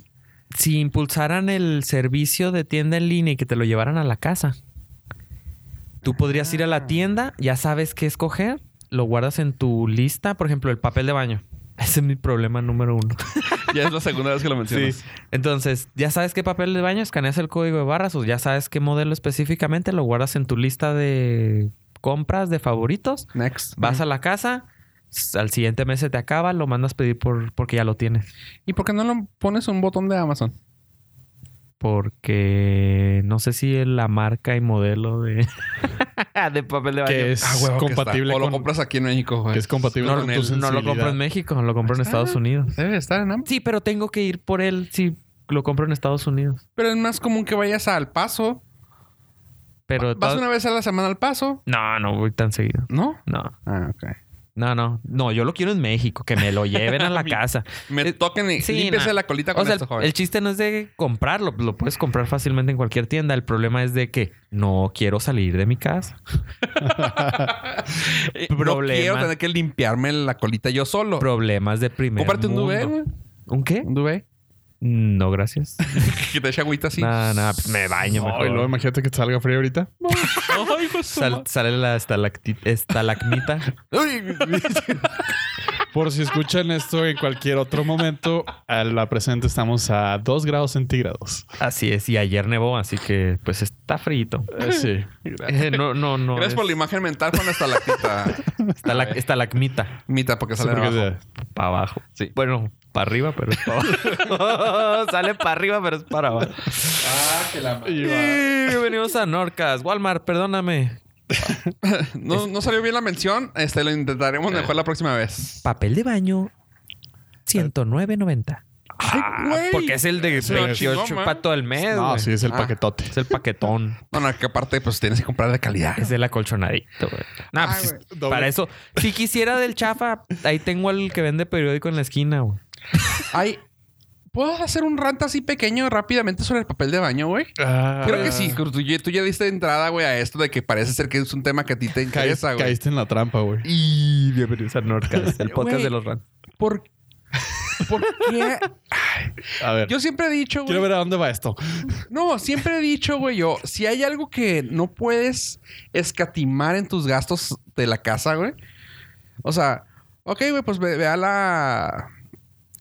Speaker 4: si impulsaran el servicio de tienda en línea y que te lo llevaran a la casa, tú podrías ir a la tienda, ya sabes qué escoger, lo guardas en tu lista, por ejemplo, el papel de baño. Ese es mi problema número uno.
Speaker 2: ya es la segunda vez que lo mencionas.
Speaker 4: Entonces, ya sabes qué papel de baño, escaneas el código de barras o ya sabes qué modelo específicamente, lo guardas en tu lista de compras, de favoritos,
Speaker 2: Next.
Speaker 4: vas a la casa, s- al siguiente mes se te acaba, lo mandas pedir por, porque ya lo tienes.
Speaker 2: ¿Y por qué no lo pones un botón de Amazon?
Speaker 4: Porque no sé si es la marca y modelo de, de papel de baño.
Speaker 3: que es
Speaker 2: Ah, huevo que
Speaker 3: compatible
Speaker 2: está. O lo
Speaker 3: con.
Speaker 2: compras aquí en México, güey.
Speaker 3: Que es compatible
Speaker 2: No,
Speaker 3: con tu
Speaker 2: no,
Speaker 4: No lo
Speaker 3: sensibilidad.
Speaker 4: compro en México, lo compro en
Speaker 2: Está.
Speaker 4: Estados Unidos.
Speaker 2: Debe estar en Amazon.
Speaker 4: Sí, pero tengo que ir por él si lo compro en Estados Unidos.
Speaker 2: Pero es más común que vayas al paso
Speaker 4: Pero
Speaker 2: ¿Vas
Speaker 4: todas-
Speaker 2: una vez a la semana al paso?
Speaker 4: No, no voy tan seguido.
Speaker 2: ¿No?
Speaker 4: No,
Speaker 2: Ah, ok.
Speaker 4: no, no. No, yo lo quiero en México, que me lo lleven a la casa.
Speaker 2: Me
Speaker 4: Eh,
Speaker 2: toquen y
Speaker 4: sí,
Speaker 2: límpiese
Speaker 4: no.
Speaker 2: la colita con
Speaker 4: O sea,
Speaker 2: esto,
Speaker 4: el,
Speaker 2: joven.
Speaker 4: el chiste no es de comprarlo, lo puedes comprar fácilmente en cualquier tienda. El problema es de que no quiero salir de mi casa. Eh,
Speaker 2: No quiero
Speaker 4: problemas-
Speaker 2: tener que limpiarme la colita yo solo.
Speaker 4: Problemas de primer
Speaker 2: Cómprate Oh. un
Speaker 4: mundo.
Speaker 2: duvet, güey.
Speaker 4: ¿Un qué?
Speaker 2: Un duvet.
Speaker 4: No, gracias.
Speaker 2: Que te eche agüita así.
Speaker 4: No, no, pues me baño
Speaker 3: No,
Speaker 4: mejor.
Speaker 3: y luego imagínate que te salga frío ahorita.
Speaker 4: Sal- sale la estalacti- estalagmita.
Speaker 3: Por si escuchan esto en cualquier otro momento, a la presente estamos a 2 grados centígrados.
Speaker 4: Así es, y ayer nevó, así que pues está frito.
Speaker 3: Eh, sí.
Speaker 4: Eh, no, no, no.
Speaker 2: Gracias
Speaker 4: es
Speaker 2: por la imagen mental con esta lactita.
Speaker 4: estalac- estalagmita
Speaker 2: Mita, porque
Speaker 3: Sí,
Speaker 2: sale
Speaker 3: porque
Speaker 2: abajo.
Speaker 4: para abajo.
Speaker 2: Sí.
Speaker 4: Bueno, para arriba, pero es para abajo. Sale para arriba, pero es para abajo.
Speaker 3: se- y
Speaker 4: Y
Speaker 3: va.
Speaker 4: bienvenidos a Norcas. Walmart, perdóname.
Speaker 2: No, no salió bien la mención. Este, lo intentaremos mejor la próxima vez.
Speaker 4: Papel de baño, 109.90. Ah,
Speaker 2: güey.
Speaker 4: porque es el de
Speaker 2: Se lo
Speaker 4: 28
Speaker 2: chingó, man.
Speaker 4: para todo el mes.
Speaker 3: No,
Speaker 4: güey.
Speaker 3: sí, es el
Speaker 2: Ah.
Speaker 3: paquetote.
Speaker 4: Es el paquetón.
Speaker 2: No, no, que aparte, pues tienes que comprar de calidad.
Speaker 4: Es el acolchonadito, güey. No,
Speaker 2: Ay,
Speaker 4: pues,
Speaker 2: güey.
Speaker 3: Doble.
Speaker 4: para eso, si quisiera del chafa, ahí tengo al que vende periódico en la esquina, güey.
Speaker 2: Ay, ¿puedo hacer un rant así pequeño rápidamente sobre el papel de baño, güey?
Speaker 3: Ah.
Speaker 2: Creo que sí. Tú, ya- tú ya diste entrada, güey, a esto de que parece ser que es un tema que a ti te
Speaker 3: Caí-
Speaker 2: interesa, güey.
Speaker 3: caíste en la trampa, güey.
Speaker 4: Y bienvenidos a Norcas, el podcast
Speaker 2: Güey.
Speaker 4: de los ran.
Speaker 2: ¿Por, ¿Por qué?
Speaker 3: A ver.
Speaker 2: Yo siempre he dicho, güey.
Speaker 3: Quiero ver a dónde va esto.
Speaker 2: No, siempre he dicho, güey, yo, si hay algo que no puedes escatimar en tus gastos de la casa, güey. O sea, ok, güey, pues ve, ve a la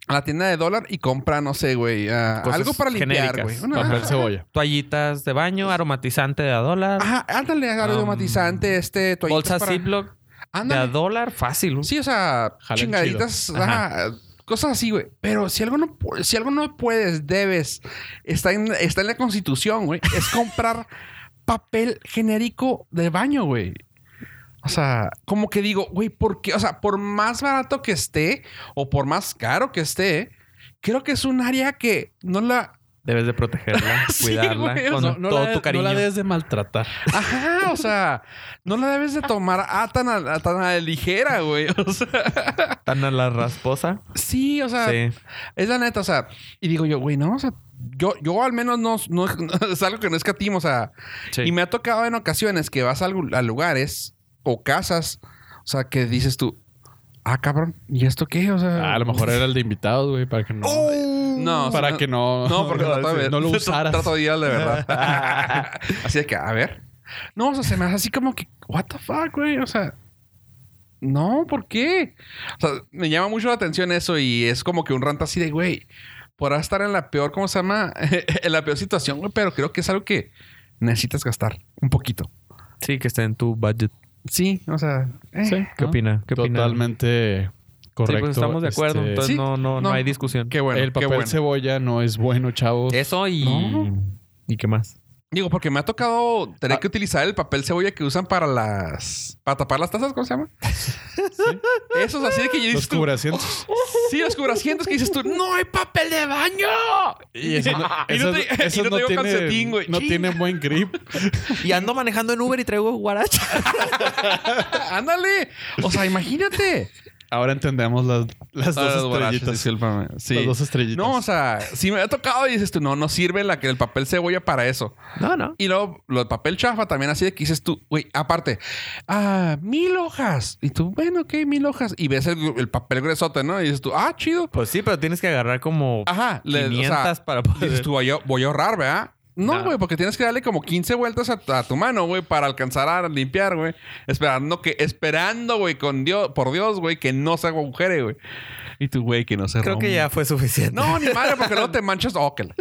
Speaker 2: a la tienda de dólar y compra, no sé, güey, ah,
Speaker 4: Cosas
Speaker 2: algo para limpiar,
Speaker 4: genéricas.
Speaker 2: güey. Una-
Speaker 3: Papel cebolla.
Speaker 4: Toallitas de baño, aromatizante de a dólar.
Speaker 2: Ajá, ándale, aromatizante, este toallitas
Speaker 4: Ah, um, bolsas
Speaker 2: para-
Speaker 4: Ziploc de a
Speaker 2: Ándale.
Speaker 4: dólar, fácil.
Speaker 2: Sí, o sea,
Speaker 3: Jalen
Speaker 2: chingaditas,
Speaker 4: chido.
Speaker 2: ajá, cosas así, güey. Pero si algo no pu- si algo no puedes, debes, está en, está en la constitución, güey, es comprar papel genérico de baño, güey. O sea, como que digo, güey, ¿por qué? O sea, por más barato que esté o por más caro que esté, creo que es un área que no la...
Speaker 4: Debes de protegerla,
Speaker 2: Sí,
Speaker 4: cuidarla
Speaker 2: güey, o
Speaker 4: con
Speaker 2: sea,
Speaker 4: todo
Speaker 3: la,
Speaker 4: tu cariño.
Speaker 3: no la debes de maltratar.
Speaker 2: Ajá, o sea, no la debes de tomar a tan a, a tan a la ligera, güey. O sea,
Speaker 4: Tan a la rasposa.
Speaker 2: sí, o sea,
Speaker 4: Sí.
Speaker 2: Es la neta, o sea, y digo yo, güey, no, o sea, yo, yo al menos no, no- es algo que no escatimo, o sea,
Speaker 4: Sí.
Speaker 2: y me ha tocado en ocasiones que vas a, algu- a lugares o casas, o sea, que dices tú, ah, cabrón, ¿y esto qué? O sea,
Speaker 3: Ah, a lo mejor era el de invitados, güey, para que no.
Speaker 2: Oh. no, o sea,
Speaker 3: para que no.
Speaker 2: no, porque trato de ver-
Speaker 3: no lo usaras.
Speaker 2: Trato de ir al de verdad. así de que, a ver. No, o sea, se me hace así como que, what the fuck, güey. O sea, no, ¿por qué? O sea, me llama mucho la atención eso y es como que un rant así de, güey, podrás estar en la peor, ¿cómo se llama? en la peor situación, güey, pero creo que es algo que necesitas gastar un poquito.
Speaker 4: Sí, que esté en tu budget.
Speaker 2: Sí, o sea, eh.
Speaker 3: Sí,
Speaker 4: ¿Qué
Speaker 3: ¿no?
Speaker 4: opina? ¿Qué opina?
Speaker 3: Totalmente correcto.
Speaker 4: Sí, pues estamos de acuerdo.
Speaker 3: Este,
Speaker 4: Entonces
Speaker 2: Sí,
Speaker 4: no, no, no
Speaker 2: no.
Speaker 4: hay discusión.
Speaker 2: qué bueno,
Speaker 3: el
Speaker 2: qué
Speaker 3: papel
Speaker 2: bueno.
Speaker 3: cebolla no es bueno, chavos.
Speaker 4: Eso y...
Speaker 2: No.
Speaker 4: ¿Y qué más?
Speaker 2: Digo, porque me ha tocado
Speaker 3: Ah.
Speaker 2: tener que utilizar el papel cebolla que usan para las... Para tapar las tazas, ¿cómo se llama? Eso es así de que yo
Speaker 3: Los
Speaker 2: dices tú,
Speaker 3: cubracientos.
Speaker 2: Sí, los cubracientos que dices tú, no hay papel de baño.
Speaker 3: Y eso no,
Speaker 2: Y
Speaker 3: eso
Speaker 2: no te-
Speaker 3: eso
Speaker 2: y no tengo
Speaker 3: tiene-
Speaker 2: calcetín, güey.
Speaker 3: No
Speaker 2: Chinga.
Speaker 3: tiene buen grip.
Speaker 4: Y ando manejando en Uber y traigo guaracha.
Speaker 2: "Ah, Ándale. O sea, imagínate.
Speaker 3: Ahora entendemos las, las
Speaker 2: Ah,
Speaker 3: dos
Speaker 2: borrachos,
Speaker 3: estrellitas.
Speaker 2: discúlpame. Sí.
Speaker 3: Las dos estrellitas.
Speaker 2: No, o sea, si me ha tocado y dices tú, no, no sirve la que el papel cebolla para eso.
Speaker 4: No, no.
Speaker 2: Y luego lo del papel chafa también así de que dices tú, güey, aparte, ah, mil hojas. Y tú, bueno, ok, mil hojas. Y ves el, el papel gruesote, ¿no? Y dices tú, ah, chido.
Speaker 4: Pues sí, pero tienes que agarrar como
Speaker 2: Ajá. le- o sea,
Speaker 4: 500 para poder...
Speaker 2: Dices tú, voy a, voy a ahorrar, ¿verdad? No,
Speaker 4: Nah.
Speaker 2: güey, porque tienes que darle como 15 vueltas a, a tu mano, güey, para alcanzar a limpiar, güey. Esperando que, esperando, güey, con Dios, por Dios, güey, que no se agujere, güey. Y tu güey que no se
Speaker 4: Creo
Speaker 2: rompa.
Speaker 4: que ya fue suficiente.
Speaker 2: "Ah, No, ni madre, porque no te manchas. Oh, que la-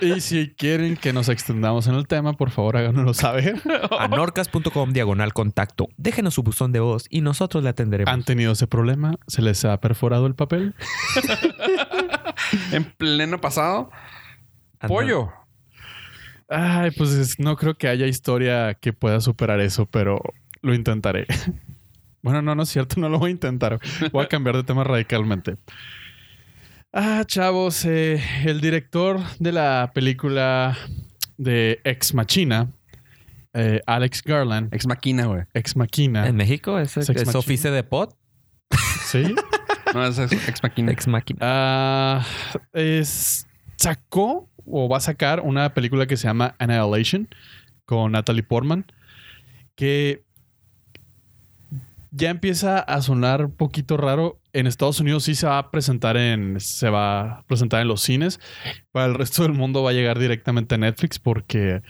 Speaker 3: Y si quieren que nos extendamos en el tema, por favor, háganoslo saber.
Speaker 4: A norcas.com diagonal contacto. Déjenos su buzón de voz y nosotros le atenderemos.
Speaker 3: ¿Han tenido ese problema? ¿Se les ha perforado el papel?
Speaker 2: En pleno pasado,
Speaker 4: Andor-
Speaker 2: Ah, pollo.
Speaker 3: Ay, pues es- no creo que haya historia que pueda superar eso, pero lo intentaré. Bueno, no, no es cierto, no lo voy a intentar. Voy a cambiar de tema radicalmente. Ah, chavos, eh, el director de la película de Ex Machina eh, Alex Garland,
Speaker 2: Ex máquina, güey.
Speaker 3: ex máquina.
Speaker 4: En México es,
Speaker 3: Sex
Speaker 4: es,
Speaker 3: Machine.
Speaker 4: Office de Pot.
Speaker 3: ¿Sí?
Speaker 2: No, es ex, ex máquina.
Speaker 4: Ex Machina.
Speaker 3: Ah, es, sacó o va a sacar una película que se llama Annihilation con Natalie Portman, que ya empieza a sonar un poquito raro. En Estados Unidos sí se va a presentar en se va a presentar en los cines. Para el resto del mundo va a llegar directamente a Netflix porque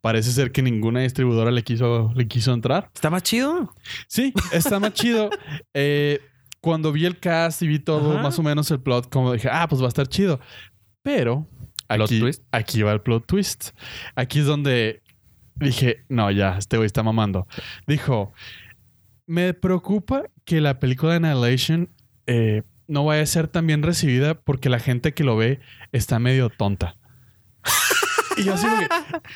Speaker 3: parece ser que ninguna distribuidora le quiso le quiso entrar.
Speaker 4: ¿Está más chido?
Speaker 3: Sí, está más chido. Eh, cuando vi el cast y vi todo,
Speaker 4: Ajá.
Speaker 3: más o menos el plot, como dije, ah, pues va a estar chido. Pero
Speaker 4: Plot
Speaker 3: aquí,
Speaker 4: twist.
Speaker 3: aquí va el plot twist. Aquí es donde dije, no, ya, este güey está mamando. Dijo, me preocupa que la película de Annihilation eh, no vaya a ser tan bien recibida porque la gente que lo ve está medio tonta. y yo así como que,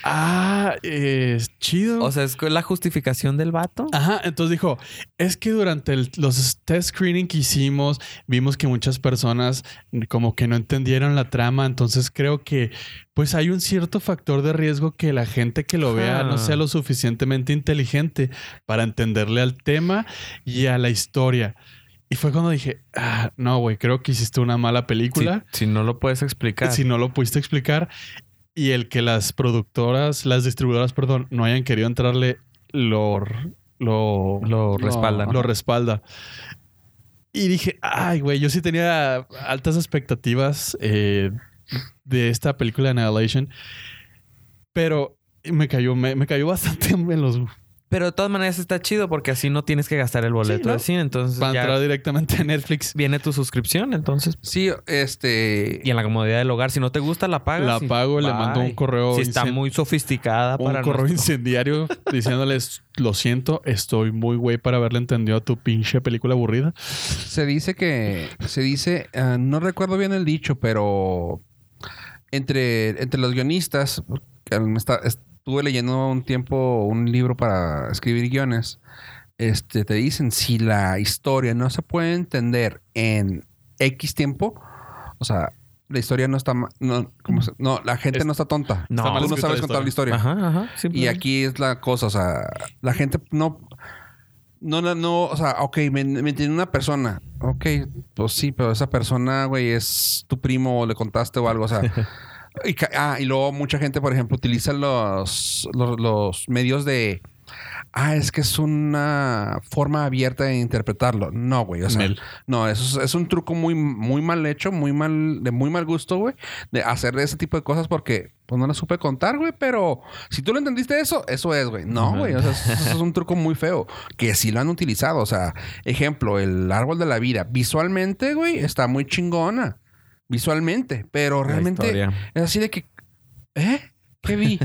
Speaker 3: ah, es chido.
Speaker 4: O sea, es la justificación del vato.
Speaker 3: Ajá, entonces dijo, es que durante el- los test screening que hicimos, vimos que muchas personas como que no entendieron la trama, entonces creo que pues hay un cierto factor de riesgo que la gente que lo vea
Speaker 4: Ah.
Speaker 3: no sea lo suficientemente inteligente para entenderle al tema y a la historia. Y fue cuando dije, ah, no, güey, creo que hiciste una mala
Speaker 4: Si,
Speaker 3: película
Speaker 4: si no lo puedes explicar.
Speaker 3: si no lo pudiste explicar y el que las productoras, las distribuidoras, perdón, no hayan querido entrarle, lo, r- lo,
Speaker 4: Lo respaldan.
Speaker 3: Lo respalda. Y dije, ay, güey, yo sí tenía altas expectativas eh, de esta película de Annihilation, pero me cayó, me, me cayó bastante en los...
Speaker 4: Pero de todas maneras está chido porque así no tienes que gastar el boleto
Speaker 3: ¿no?
Speaker 4: de cine. Entonces
Speaker 3: Para
Speaker 4: ya
Speaker 3: entrar directamente a Netflix.
Speaker 4: viene tu suscripción. Entonces,
Speaker 2: Sí, este.
Speaker 4: y en la comodidad del hogar, si no te gusta, la pagas.
Speaker 3: La
Speaker 4: y
Speaker 3: pago, le
Speaker 4: bye.
Speaker 3: mando un correo
Speaker 4: Si está
Speaker 3: incen-
Speaker 4: muy sofisticada
Speaker 3: un
Speaker 4: para
Speaker 3: correo
Speaker 4: nuestro-
Speaker 3: incendiario diciéndoles, lo siento, estoy muy güey para haberle entendido a tu pinche película aburrida.
Speaker 2: Se dice que. Se dice. ah, no recuerdo bien el dicho, pero. Entre, entre los guionistas. porque me está- estuve leyendo un tiempo un libro para escribir guiones. Este, te dicen si la historia no se puede entender en X tiempo. O sea, la historia no está. ma- No, ¿cómo se- no, la gente
Speaker 3: Es-
Speaker 2: no está tonta.
Speaker 4: No.
Speaker 2: Tú
Speaker 4: Está mal
Speaker 2: no
Speaker 3: escrita
Speaker 2: sabes
Speaker 3: la
Speaker 2: contar la historia.
Speaker 4: Ajá, ajá.
Speaker 2: Y
Speaker 4: simple.
Speaker 2: aquí es la cosa, o sea, la gente no. No, no, no, o sea, ok, me, me entiende una persona. Ok, pues sí, pero esa persona, güey, es tu primo o le contaste o algo, o sea. y ca- ah, y luego mucha gente, por ejemplo, utiliza los, los, los medios de. Ah, es que es una forma abierta de interpretarlo. No, güey, o sea.
Speaker 3: Mel.
Speaker 2: No, eso es, es un truco muy, muy mal hecho, muy mal, de muy mal gusto, güey, de hacer ese tipo de cosas porque pues no la supe contar, güey, pero si tú lo entendiste eso, eso es, güey. No,
Speaker 3: Ajá.
Speaker 2: güey, o sea, eso, eso es un truco muy feo que sí lo han utilizado, o sea, ejemplo, el árbol de la vida, visualmente, güey, está muy chingona, visualmente, pero
Speaker 4: La
Speaker 2: realmente
Speaker 4: historia.
Speaker 2: es así de que, ¿eh? ¿Qué vi?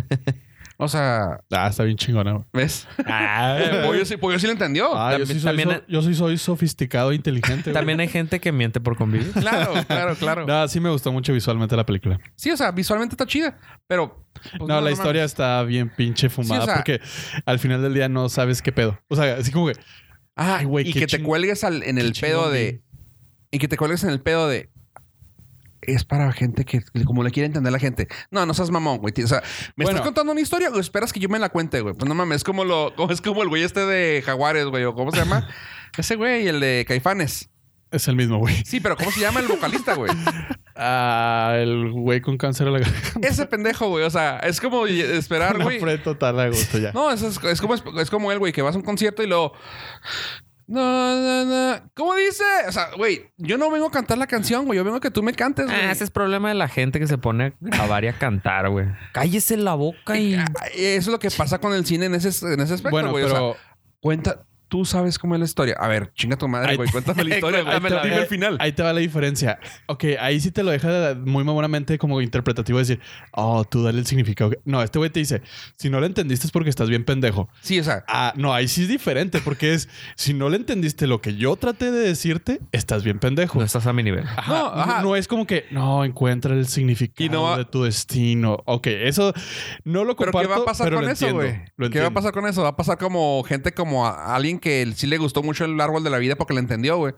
Speaker 2: o sea,
Speaker 3: Ah, está bien chingona. güey.
Speaker 2: ¿ves?
Speaker 4: Ah,
Speaker 2: Pollo Eh, sí, Pollo sí lo entendió.
Speaker 3: Ah, yo,
Speaker 4: también-
Speaker 3: sí soy
Speaker 4: también-
Speaker 3: so- yo sí soy sofisticado e inteligente. güey.
Speaker 4: También hay gente que miente por convivir.
Speaker 2: Claro, claro, claro.
Speaker 3: No, sí me gustó mucho visualmente la película.
Speaker 2: Sí, o sea, visualmente está chida, pero... pues,
Speaker 3: no, la
Speaker 2: mames.
Speaker 3: historia está bien pinche fumada
Speaker 2: sea-
Speaker 3: porque al final del día no sabes qué pedo. O sea, así como que
Speaker 2: Ah,
Speaker 3: Ay, güey,
Speaker 2: y
Speaker 3: qué
Speaker 2: que te
Speaker 3: ching-
Speaker 2: cuelgues al- en el
Speaker 3: qué
Speaker 2: pedo
Speaker 3: chingón,
Speaker 2: de.
Speaker 3: güey.
Speaker 2: Y que te cuelgues en el pedo de. Es para gente que, como le quiere entender la gente. No, no seas mamón, güey. O sea, ¿me
Speaker 3: Bueno.
Speaker 2: estás contando una historia o esperas que yo me la cuente, güey? Pues no mames, es como lo, como- es como el güey este de Jaguares, güey, o cómo se llama. Ese güey, el de Caifanes.
Speaker 3: es el mismo güey.
Speaker 2: Sí, pero ¿cómo se llama el vocalista, güey?
Speaker 3: Ah, el güey con cáncer a la garganta.
Speaker 2: Ese pendejo, güey. O sea, es como y- esperar,
Speaker 3: Una
Speaker 2: Ah, güey.
Speaker 3: fre total a gusto ya.
Speaker 2: No, eso es, es como, es como él, güey, que vas a un concierto y luego. No, no, no. ¿Cómo dice? O sea, güey, yo no vengo a cantar la canción, güey. Yo vengo a que tú me cantes, güey.
Speaker 4: Ah, ese es problema de la gente que se pone a grabar y a cantar, güey. Cállese la boca y...
Speaker 2: Ah, Eso es lo que pasa con el cine en ese, en ese aspecto,
Speaker 3: bueno,
Speaker 2: güey. O sea,
Speaker 3: pero
Speaker 2: cuenta, tú sabes cómo es la historia. A ver, chinga tu madre,
Speaker 3: Ahí-
Speaker 2: güey. Cuéntame la historia, güey.
Speaker 3: Ahí te-
Speaker 2: Dime el final.
Speaker 3: Ahí te va la diferencia. Ok, ahí sí te lo deja muy mamonamente como interpretativo decir, oh, tú dale el significado. que-". No, este güey te dice, si no lo entendiste es porque estás bien pendejo.
Speaker 2: Sí, o sea,
Speaker 3: Ah, no, ahí sí es diferente porque es, si no le entendiste lo que yo traté de decirte, estás bien pendejo.
Speaker 4: No estás a mi nivel.
Speaker 3: Ajá,
Speaker 2: No,
Speaker 3: no,
Speaker 2: ajá.
Speaker 3: no es como que no encuentra el significado
Speaker 2: Y no va-
Speaker 3: de tu destino. Ok, eso no lo
Speaker 2: pero
Speaker 3: comparto.
Speaker 2: ¿qué va a pasar
Speaker 3: pero
Speaker 2: con
Speaker 3: lo
Speaker 2: eso,
Speaker 3: entiendo,
Speaker 2: güey?
Speaker 3: lo
Speaker 2: ¿Qué va a
Speaker 3: entiendo.
Speaker 2: pasar con eso? Va a pasar como gente como a alguien que sí le gustó mucho el árbol de la vida porque le entendió, güey.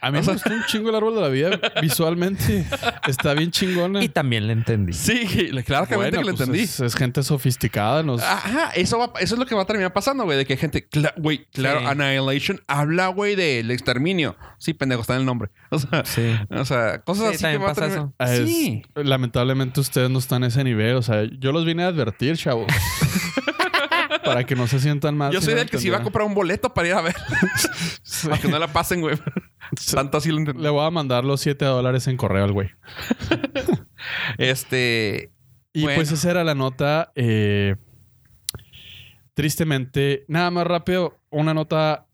Speaker 3: A mí
Speaker 2: O
Speaker 3: me
Speaker 2: sea-
Speaker 3: gustó un chingo el árbol de la vida visualmente. Está bien chingona.
Speaker 4: Y también le entendí.
Speaker 2: Sí, claro
Speaker 3: Bueno,
Speaker 2: que lo
Speaker 3: pues
Speaker 2: entendí. Ah,
Speaker 3: Es, es gente sofisticada. Nos,
Speaker 2: Ajá, eso, va- eso es lo que va a terminar pasando, güey. De que gente, cla- güey, claro,
Speaker 4: Sí.
Speaker 2: Annihilation habla, güey, del exterminio. Sí, pendejo, está en el nombre. O sea,
Speaker 4: Sí.
Speaker 2: o sea cosas
Speaker 4: Sí,
Speaker 2: así que
Speaker 4: también
Speaker 2: va a
Speaker 4: pasa
Speaker 2: terminar.
Speaker 3: es-
Speaker 2: Sí.
Speaker 3: Lamentablemente ustedes no están a ese nivel. O sea, yo los vine a advertir, chavos. para que no se sientan mal.
Speaker 2: Yo
Speaker 3: si
Speaker 2: soy
Speaker 3: Ah, no
Speaker 2: del que sí va a
Speaker 3: entendieron.
Speaker 2: comprar un boleto para ir a ver. Para que no la pasen, güey. Tanto así lo entendí.
Speaker 3: Le voy a mandar los 7 dólares en correo al güey.
Speaker 2: Este.
Speaker 3: Y
Speaker 2: Bueno.
Speaker 3: pues esa era la nota. eh, tristemente, nada más rápido, una nota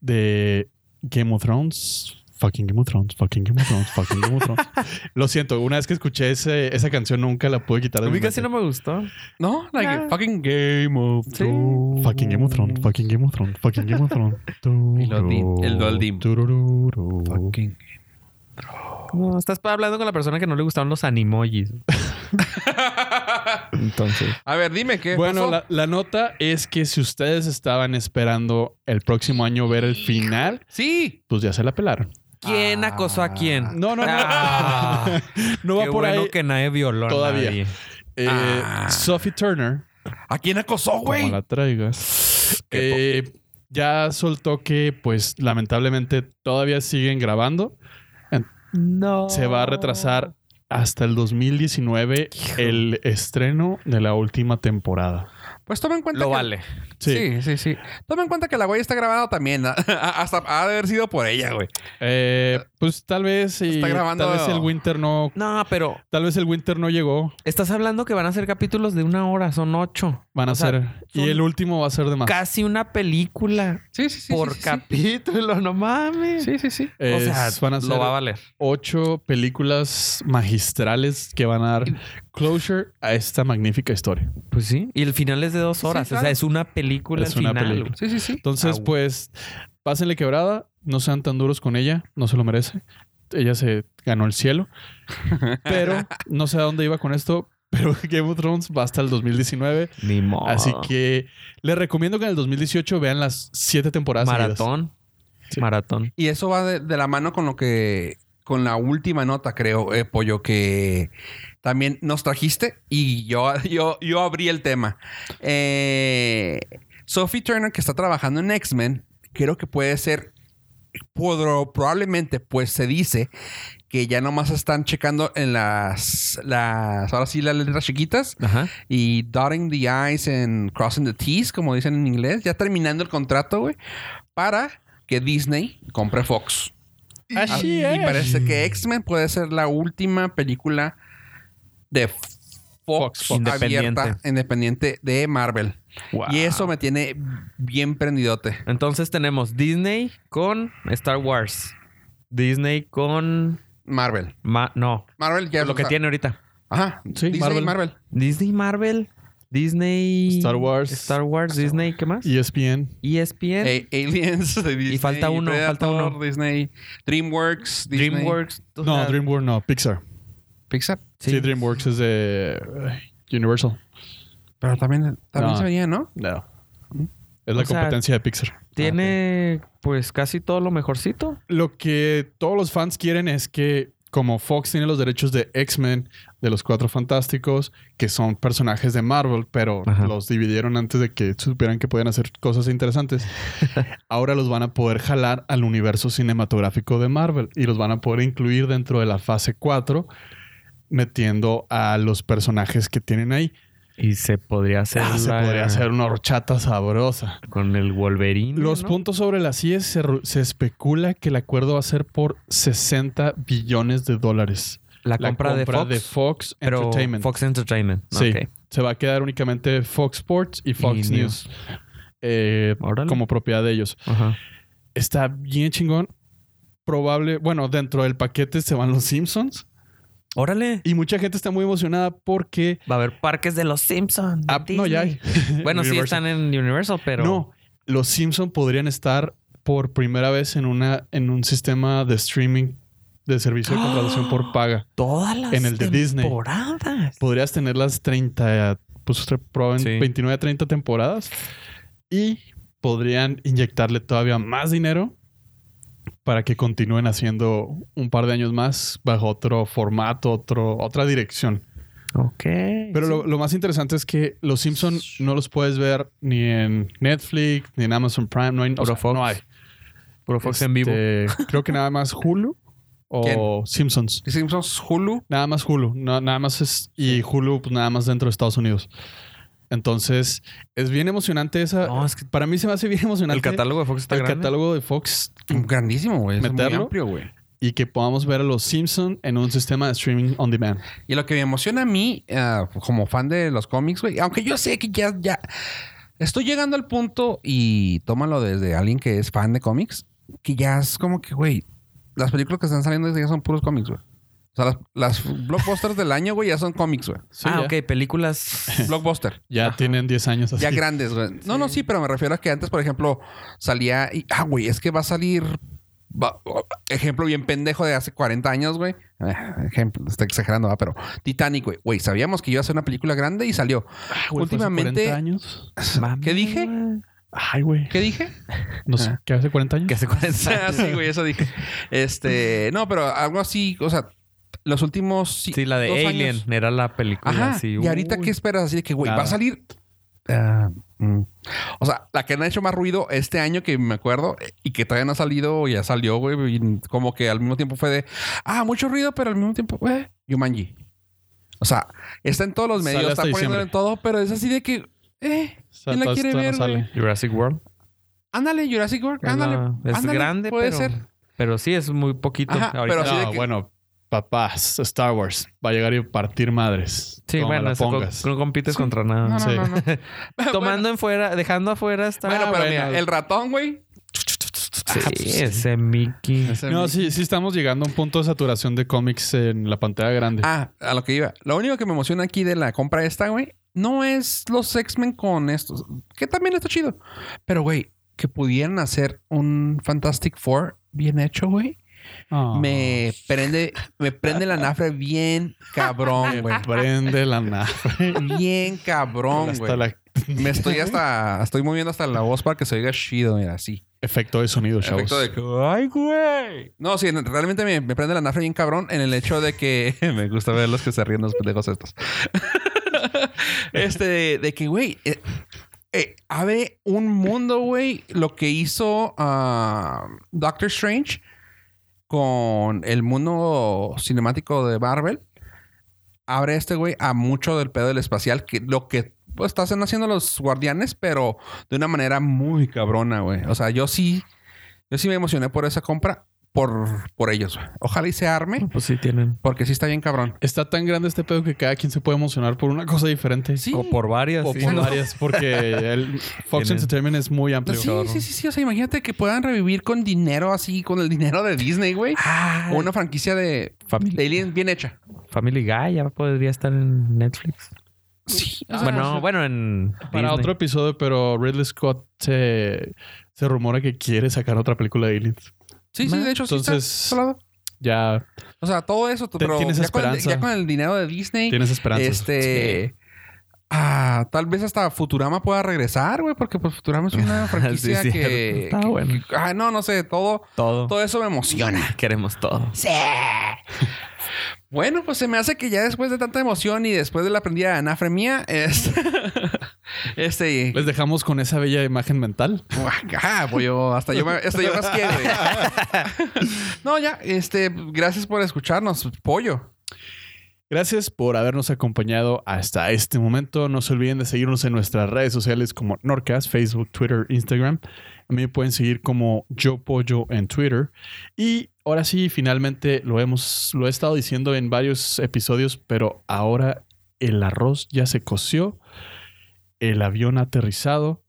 Speaker 3: de Game of Thrones. Fucking Game of Thrones, fucking Game of Thrones, fucking Game of Thrones. Lo siento, una vez que escuché ese- esa canción nunca la pude quitar de
Speaker 4: A
Speaker 3: mi
Speaker 4: mí casi no
Speaker 3: mente.
Speaker 4: me gustó.
Speaker 2: No, like,
Speaker 4: Ah.
Speaker 2: fucking Game of
Speaker 4: Sí.
Speaker 2: Thrones.
Speaker 3: Fucking Game of Thrones, fucking Game of Thrones, fucking Game of Thrones.
Speaker 2: Mm. El Oldim, el Oldim.
Speaker 3: Turururu.
Speaker 2: Fucking.
Speaker 4: No, estás hablando con la persona que no le gustaron los animojis. Entonces.
Speaker 2: A ver, dime qué.
Speaker 3: Bueno,
Speaker 2: pasó?
Speaker 3: la, la nota es que si ustedes estaban esperando el próximo año ver el final,
Speaker 2: Sí.
Speaker 3: pues ya se la pelaron.
Speaker 4: ¿Quién acosó a quién?
Speaker 3: No, no, no.
Speaker 4: Ah,
Speaker 3: No va
Speaker 4: qué
Speaker 3: por
Speaker 4: bueno
Speaker 3: ahí.
Speaker 4: que nadie violó a
Speaker 3: Todavía.
Speaker 4: nadie.
Speaker 3: Eh,
Speaker 2: Ah.
Speaker 3: Sophie Turner,
Speaker 2: ¿A quién acosó, güey?
Speaker 3: como la traigas,
Speaker 2: Qué
Speaker 3: eh, ya soltó que, pues, lamentablemente todavía siguen grabando.
Speaker 4: No.
Speaker 3: Se va a retrasar hasta el 2019 el estreno de la última temporada.
Speaker 2: Pues toma en cuenta.
Speaker 4: Lo
Speaker 2: que-
Speaker 4: vale.
Speaker 3: Sí.
Speaker 2: Sí, sí, sí. Toma en cuenta que la güey está grabada también. ¿no? Hasta ha de haber sido por ella, güey.
Speaker 3: Eh, pues tal vez y
Speaker 2: Está grabando-
Speaker 3: tal vez el Winter no,
Speaker 4: No, pero
Speaker 3: tal vez el Winter no llegó.
Speaker 4: estás hablando que van a ser capítulos de una hora, son ocho.
Speaker 3: Van a
Speaker 4: O sea,
Speaker 3: ser y
Speaker 4: son-
Speaker 3: el último va a ser de más.
Speaker 4: Casi una película
Speaker 2: Sí, sí, sí.
Speaker 4: por
Speaker 2: sí, sí,
Speaker 4: capítulo, no mames.
Speaker 2: Sí, sí, sí.
Speaker 4: O
Speaker 3: Es-
Speaker 4: sea,
Speaker 3: van a ser
Speaker 4: lo va a valer.
Speaker 3: ocho películas magistrales que van a dar closure a esta magnífica historia.
Speaker 4: Pues sí. Y el final es de dos
Speaker 2: Sí,
Speaker 4: horas. O
Speaker 2: claro.
Speaker 4: sea, es una película
Speaker 3: Es
Speaker 4: al
Speaker 3: una
Speaker 4: final.
Speaker 3: película.
Speaker 4: güey.
Speaker 2: Sí, sí, sí.
Speaker 3: Entonces,
Speaker 4: Ah,
Speaker 3: pues, pásenle quebrada, no sean tan duros con ella, no se lo merece. Ella se ganó el cielo. Pero no sé a dónde iba con esto, pero Game of Thrones va hasta el 2019.
Speaker 4: Ni modo.
Speaker 3: Así que les recomiendo que en el 2018 vean las siete temporadas. seguidas.
Speaker 4: Maratón.
Speaker 3: Sí.
Speaker 4: Maratón.
Speaker 2: Y eso va de, de la mano con lo que. Con la última nota, creo, eh, Pollo, que también nos trajiste y yo, yo, yo abrí el tema. Eh, Sophie Turner, que está trabajando en X-Men, creo que puede ser. podro- probablemente, pues se dice que ya nomás están checando en las. las ahora sí, las letras chiquitas
Speaker 4: Ajá.
Speaker 2: y dotting the i's and crossing the t's, como dicen en inglés, ya terminando el contrato, güey, para que Disney compre Fox.
Speaker 3: Así
Speaker 2: Ah,
Speaker 3: es.
Speaker 2: Y parece que X-Men puede ser la última película de F-
Speaker 3: Fox,
Speaker 2: Fox,
Speaker 3: Fox.
Speaker 2: abierta, independiente de Marvel. Y eso me tiene bien prendidote.
Speaker 4: Entonces tenemos Disney con Star Wars. Disney con.
Speaker 2: Marvel.
Speaker 4: Ma- no,
Speaker 2: Marvel ya
Speaker 4: Pues lo que
Speaker 2: o sea,
Speaker 4: tiene ahorita.
Speaker 2: Ajá.
Speaker 3: Sí,
Speaker 2: Disney
Speaker 3: Marvel.
Speaker 2: Marvel. Marvel.
Speaker 4: Disney Marvel. Disney.
Speaker 3: Star Wars.
Speaker 4: Star Wars, Disney, ¿qué
Speaker 3: E
Speaker 4: más? E
Speaker 3: ESPN.
Speaker 4: ESPN.
Speaker 2: Eh, Aliens. de Disney,
Speaker 4: falta uno, falta uno.
Speaker 2: Disney. DreamWorks. Disney,
Speaker 4: DreamWorks. o
Speaker 3: No,
Speaker 4: sea,
Speaker 3: DreamWorks no, Pixar.
Speaker 2: Pixar.
Speaker 3: Sí,
Speaker 4: sí.
Speaker 3: DreamWorks es de eh, Universal.
Speaker 2: Pero también, también
Speaker 3: No.
Speaker 2: se veía, ¿no?
Speaker 3: No. Es la
Speaker 4: O sea,
Speaker 3: competencia de Pixar.
Speaker 4: Tiene
Speaker 3: ah,
Speaker 4: pues casi todo lo mejorcito.
Speaker 3: Lo que todos los fans quieren es que, como Fox tiene los derechos de X-Men, de los Cuatro Fantásticos, que son personajes de Marvel, pero
Speaker 4: Ajá.
Speaker 3: los dividieron antes de que supieran que podían hacer cosas interesantes, ahora los van a poder jalar al universo cinematográfico de Marvel y los van a poder incluir dentro de la fase 4, metiendo a los personajes que tienen ahí.
Speaker 4: Y se podría hacer.
Speaker 3: Ah, se
Speaker 4: la-
Speaker 3: podría hacer una horchata sabrosa.
Speaker 4: Con el Wolverine.
Speaker 3: Los
Speaker 4: ¿no?
Speaker 3: puntos sobre las IES se, ru- se especula que el acuerdo va a ser por 60 billones de dólares.
Speaker 4: La compra, de Fox. pero
Speaker 3: Entertainment.
Speaker 4: Fox Entertainment.
Speaker 3: Sí.
Speaker 4: Ok.
Speaker 3: Se va a quedar únicamente Fox Sports y Fox
Speaker 4: Y
Speaker 3: News eh,
Speaker 4: Órale.
Speaker 3: como propiedad de ellos.
Speaker 4: Ajá.
Speaker 3: Está bien chingón. Probable, bueno, dentro del paquete se van los Simpsons
Speaker 4: Órale.
Speaker 3: y mucha gente está muy emocionada porque.
Speaker 4: Va a haber parques de los Simpsons. de
Speaker 3: Ah, no, ya hay.
Speaker 4: Disney. Bueno, sí están
Speaker 3: Universal.
Speaker 4: en Universal, pero.
Speaker 3: No, los Simpson podrían estar por primera vez en una en un sistema de streaming de servicio de contratación por paga.
Speaker 4: Todas las
Speaker 3: En el de Disney.
Speaker 4: temporadas.
Speaker 3: Podrías tener las 30, pues tre- probablemente
Speaker 4: Sí.
Speaker 3: 29, 30 temporadas y podrían inyectarle todavía más dinero para que continúen haciendo un par de años más bajo otro formato, otro, otra dirección.
Speaker 4: Ok.
Speaker 3: Pero lo, lo más interesante es que los Simpson no los puedes ver ni en Netflix, ni en Amazon Prime, no hay. o
Speaker 4: Puro
Speaker 3: sea,
Speaker 4: Fox.
Speaker 3: no hay.
Speaker 4: Puro Fox en vivo.
Speaker 3: Este, Creo que nada más Hulu o
Speaker 2: ¿Quién?
Speaker 3: Simpsons.
Speaker 2: Simpsons Hulu.
Speaker 3: Nada más Hulu. no- nada más es. Y Hulu, pues nada más dentro de Estados Unidos. Entonces, es bien emocionante esa.
Speaker 4: No, es que-
Speaker 3: Para mí se me hace bien emocionante.
Speaker 4: El catálogo de Fox está
Speaker 3: el
Speaker 4: grande.
Speaker 3: catálogo de Fox
Speaker 2: Grandísimo, güey. Es muy
Speaker 3: ¿Meterlo?
Speaker 2: amplio, güey.
Speaker 3: y que podamos ver a los Simpsons en un sistema de streaming on demand.
Speaker 4: Ah,
Speaker 2: Y lo que me emociona a mí, ah, como fan de los cómics, güey, aunque yo sé que ya, ya estoy llegando al punto y tómalo desde alguien que es fan de cómics, que ya es como que, güey, las películas que están saliendo ya son puros cómics, güey. O sea, las, las blockbusters del año, güey, ya son cómics, güey.
Speaker 3: Sí,
Speaker 4: ah,
Speaker 3: ya.
Speaker 4: ok, películas.
Speaker 2: Blockbuster.
Speaker 3: Ya tienen 10 años así. Ah,
Speaker 2: Ya grandes, güey. No, no, sí, pero me refiero a que antes, por ejemplo, salía y, ah, güey, es que va a salir. va- ejemplo bien pendejo de hace 40 años, güey. Eh, Ejemplo, está exagerando, va, pero Titanic, güey. Güey, sabíamos que iba a ser una película grande y salió.
Speaker 3: Ah, güey, fue hace
Speaker 2: últimamente-
Speaker 3: 40 años.
Speaker 2: ¿Qué dije?
Speaker 3: Ay, güey.
Speaker 2: ¿Qué dije?
Speaker 3: No sé, ¿qué hace 40 años?
Speaker 4: Que hace 40
Speaker 2: Ah, sí, güey, eso dije. Este, no, pero algo así, o sea, los últimos.
Speaker 4: Sí, la de
Speaker 2: dos
Speaker 4: Alien
Speaker 2: años.
Speaker 4: era la película.
Speaker 2: Ajá.
Speaker 4: sí.
Speaker 2: y ahorita,
Speaker 4: Uy.
Speaker 2: ¿qué esperas? Así de que, güey, va a
Speaker 3: Nada.
Speaker 2: salir. Ah, mm. O sea, la que han hecho más ruido este año que me acuerdo eh, y que todavía no ha salido o ya salió, güey. y Como que al mismo tiempo fue de, ah, mucho ruido, pero al mismo tiempo, güey, Yumanji. O sea, está en todos los
Speaker 3: Sale
Speaker 2: medios, está
Speaker 3: hasta
Speaker 2: poniéndolo en todo, pero es así de que, eh,
Speaker 3: O sea,
Speaker 2: ¿Quién la
Speaker 3: todo
Speaker 2: quiere
Speaker 3: esto no
Speaker 2: ver,
Speaker 3: sale.
Speaker 2: güey?
Speaker 4: Jurassic World.
Speaker 2: ándale, Jurassic World, ándale.
Speaker 4: Ah, es
Speaker 2: ándale,
Speaker 4: grande,
Speaker 2: puede
Speaker 4: pero,
Speaker 2: ser.
Speaker 4: pero sí es muy poquito.
Speaker 2: Ajá,
Speaker 4: ahorita.
Speaker 2: pero sí de
Speaker 3: No,
Speaker 2: que-
Speaker 3: bueno, papás, Star Wars va a llegar y partir madres.
Speaker 4: sí,
Speaker 3: Como
Speaker 4: bueno,
Speaker 3: la
Speaker 4: eso co-
Speaker 3: pongas.
Speaker 4: no compites contra nada.
Speaker 2: No, no,
Speaker 3: Sí.
Speaker 2: no, no. Ah, Bueno,
Speaker 4: Tomando en fuera, dejando afuera está.
Speaker 2: Bueno, Ah, pero mira,
Speaker 3: bueno.
Speaker 2: el ratón, güey.
Speaker 4: Sí, ese Mickey.
Speaker 3: No, sí, sí estamos llegando a un punto de saturación de cómics en la pantalla grande.
Speaker 2: Ah, a lo que iba. Lo único que me emociona aquí de la compra esta, güey, no es los X-Men con estos, que también está chido. Pero, güey, que pudieran hacer un Fantastic Four bien hecho, güey.
Speaker 3: Ah.
Speaker 2: Me prende, me prende la nafra bien cabrón, güey.
Speaker 3: prende la nave.
Speaker 2: Bien cabrón,
Speaker 3: Hasta
Speaker 2: güey.
Speaker 3: la-
Speaker 2: Me estoy hasta, estoy moviendo hasta la voz para que se oiga chido, mira, así.
Speaker 3: Efecto de sonido, chavos.
Speaker 2: Efecto de No, sí, no, realmente me, me prende la nafra bien cabrón en el hecho de que me gusta ver los que se ríen los pendejos estos. este, de, de que, güey, eh, eh, abre un mundo, güey, lo que hizo ah, Doctor Strange con el mundo cinemático de Marvel. Abre este, güey, a mucho del pedo del espacial, que lo que pues, están haciendo los guardianes, pero de una manera muy cabrona, güey. O sea, yo sí, yo sí me emocioné por esa compra, por, por ellos. güey. Ojalá y se arme,
Speaker 4: Pues sí tienen.
Speaker 2: porque sí está bien cabrón.
Speaker 3: Está tan grande este pedo que cada quien se puede emocionar por una cosa diferente.
Speaker 2: Sí.
Speaker 4: O por varias.
Speaker 3: O
Speaker 4: sí,
Speaker 3: por
Speaker 4: ¿no?
Speaker 3: varias, porque el Fox
Speaker 4: Tienen-
Speaker 3: Entertainment es muy amplio.
Speaker 2: Sí, sí, sí, sí. O sea, imagínate que puedan revivir con dinero así, con el dinero de Disney, güey.
Speaker 4: Ah,
Speaker 2: O una franquicia de, de
Speaker 4: Family,
Speaker 2: Alien bien hecha.
Speaker 4: Family Guy ya podría estar en Netflix.
Speaker 2: Sí.
Speaker 4: bueno, bueno, en.
Speaker 3: Para
Speaker 4: Disney.
Speaker 3: otro episodio, pero Ridley Scott se, se rumora que quiere sacar otra película de Aliens.
Speaker 2: Sí, sí, de hecho,
Speaker 3: Entonces-
Speaker 2: sí. Está, solado.
Speaker 3: Ya
Speaker 2: o sea, todo eso,
Speaker 3: Te-
Speaker 2: pero
Speaker 3: tienes
Speaker 2: ya con, el,
Speaker 3: esperanza.
Speaker 2: ya con el dinero de Disney,
Speaker 3: tienes esperanzas.
Speaker 2: este. ah, tal vez hasta Futurama pueda regresar, güey, porque pues Futurama es una franquicia
Speaker 4: Sí, cierto.
Speaker 2: que,
Speaker 4: Está
Speaker 2: que-
Speaker 4: bueno.
Speaker 2: que- ah, no, no sé, todo,
Speaker 4: Todo.
Speaker 2: todo eso me emociona.
Speaker 4: Queremos todo.
Speaker 2: Sí. Bueno, pues se me hace que ya después de tanta emoción y después de la aprendida de anafre mía, es- este.
Speaker 3: Les dejamos con esa bella imagen mental.
Speaker 2: Ajá, pues yo, hasta yo, me- hasta yo rasqué, güey. No, ya, este, gracias por escucharnos, pollo.
Speaker 3: Gracias por habernos acompañado hasta este momento. No se olviden de seguirnos en nuestras redes sociales como Norcas, Facebook, Twitter, Instagram. A mí me pueden seguir como Yo Pollo en Twitter. Y ahora sí, finalmente lo hemos, lo he estado diciendo en varios episodios, pero ahora el arroz ya se coció, el avión ha aterrizado,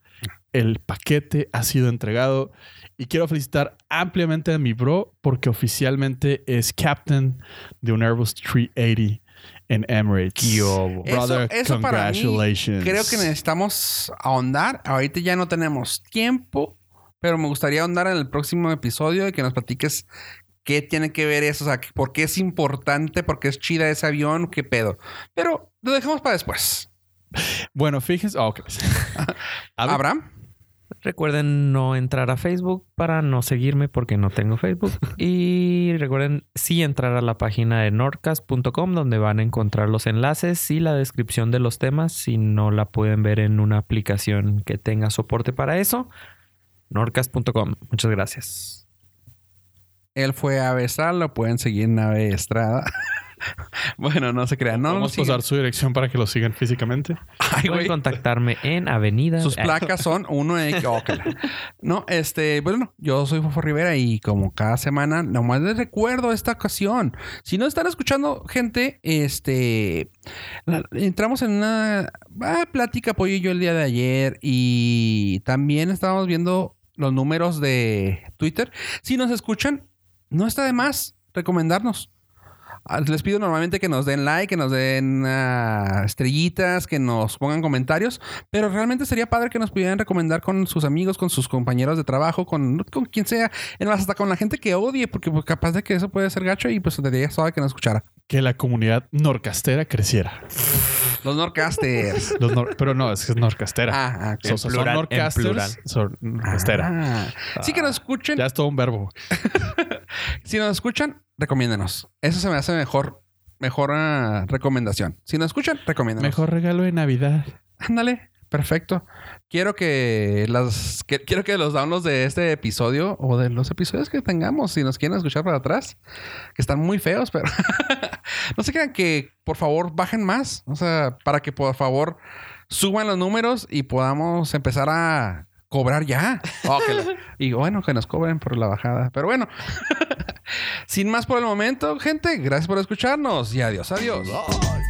Speaker 3: el paquete ha sido entregado. Y quiero felicitar ampliamente a mi bro porque oficialmente es captain de un Airbus 380 en Emirates. Brother,
Speaker 2: Eso- eso para mí,
Speaker 3: congratulations.
Speaker 2: Creo que necesitamos ahondar. Ahorita ya no tenemos tiempo, pero me gustaría ahondar en el próximo episodio y que nos platiques qué tiene que ver eso, o sea, por qué es importante, por qué es chida ese avión, qué pedo. Pero lo dejamos para después.
Speaker 3: Bueno, fíjense. ah, ok. oh, A ver,
Speaker 2: Abraham,
Speaker 4: Recuerden no entrar a Facebook para no seguirme porque no tengo Facebook. Y recuerden sí entrar a la página de nordcast.com donde van a encontrar los enlaces y la descripción de los temas si no la pueden ver en una aplicación que tenga soporte para eso. Nordcast.com. Muchas gracias.
Speaker 2: Él fue a besar, lo pueden seguir en Ave Estrada. bueno, no se crean. No,
Speaker 3: Vamos a
Speaker 2: sigan.
Speaker 3: pasar su dirección para que lo sigan físicamente.
Speaker 2: Ay,
Speaker 4: Pueden
Speaker 2: güey.
Speaker 4: contactarme en Avenida.
Speaker 2: Sus
Speaker 4: Ah,
Speaker 2: placas son 1X. Oh, que la- no, este, bueno, yo soy Fofo Rivera y como cada semana, nomás les recuerdo esta ocasión. Si no están escuchando, gente, este, la- entramos en una ah, plática, Pollo y yo, el día de ayer y también estábamos viendo los números de Twitter. Si nos escuchan, no está de más recomendarnos. Ah, Les pido normalmente que nos den like, que nos den ah, estrellitas, que nos pongan comentarios, pero realmente sería padre que nos pudieran recomendar con sus amigos, con sus compañeros de trabajo, con, con quien sea, en más hasta con la gente que odie, porque pues, capaz de que eso puede ser gacho y pues tendría suave que nos escuchara.
Speaker 3: Que la comunidad norcastera creciera.
Speaker 2: Los Norcasters.
Speaker 3: Los nor- pero no, es que es norcastera.
Speaker 2: ah, ah, ok.
Speaker 3: So- so- son
Speaker 4: plural, en
Speaker 3: norcasters,
Speaker 4: plural.
Speaker 3: Son norcastera.
Speaker 2: Ah. Sí que nos escuchen.
Speaker 3: Ya es todo un verbo.
Speaker 2: Si nos escuchan, recomiéndenos. Eso se me hace mejor, mejor ah, recomendación. Si nos escuchan, recomiéndenos.
Speaker 3: Mejor regalo de Navidad.
Speaker 2: Ándale, perfecto. Quiero que las que- quiero que los downloads de este episodio o de los episodios que tengamos, si nos quieren escuchar para atrás, que están muy feos, pero no se crean que por favor bajen más, o sea, para que por favor suban los números y podamos empezar a cobrar ya. Oh, que la- y bueno, que nos cobren por la bajada, pero bueno. Sin más por el momento, gente, gracias por escucharnos y adiós, adiós.
Speaker 6: Lord.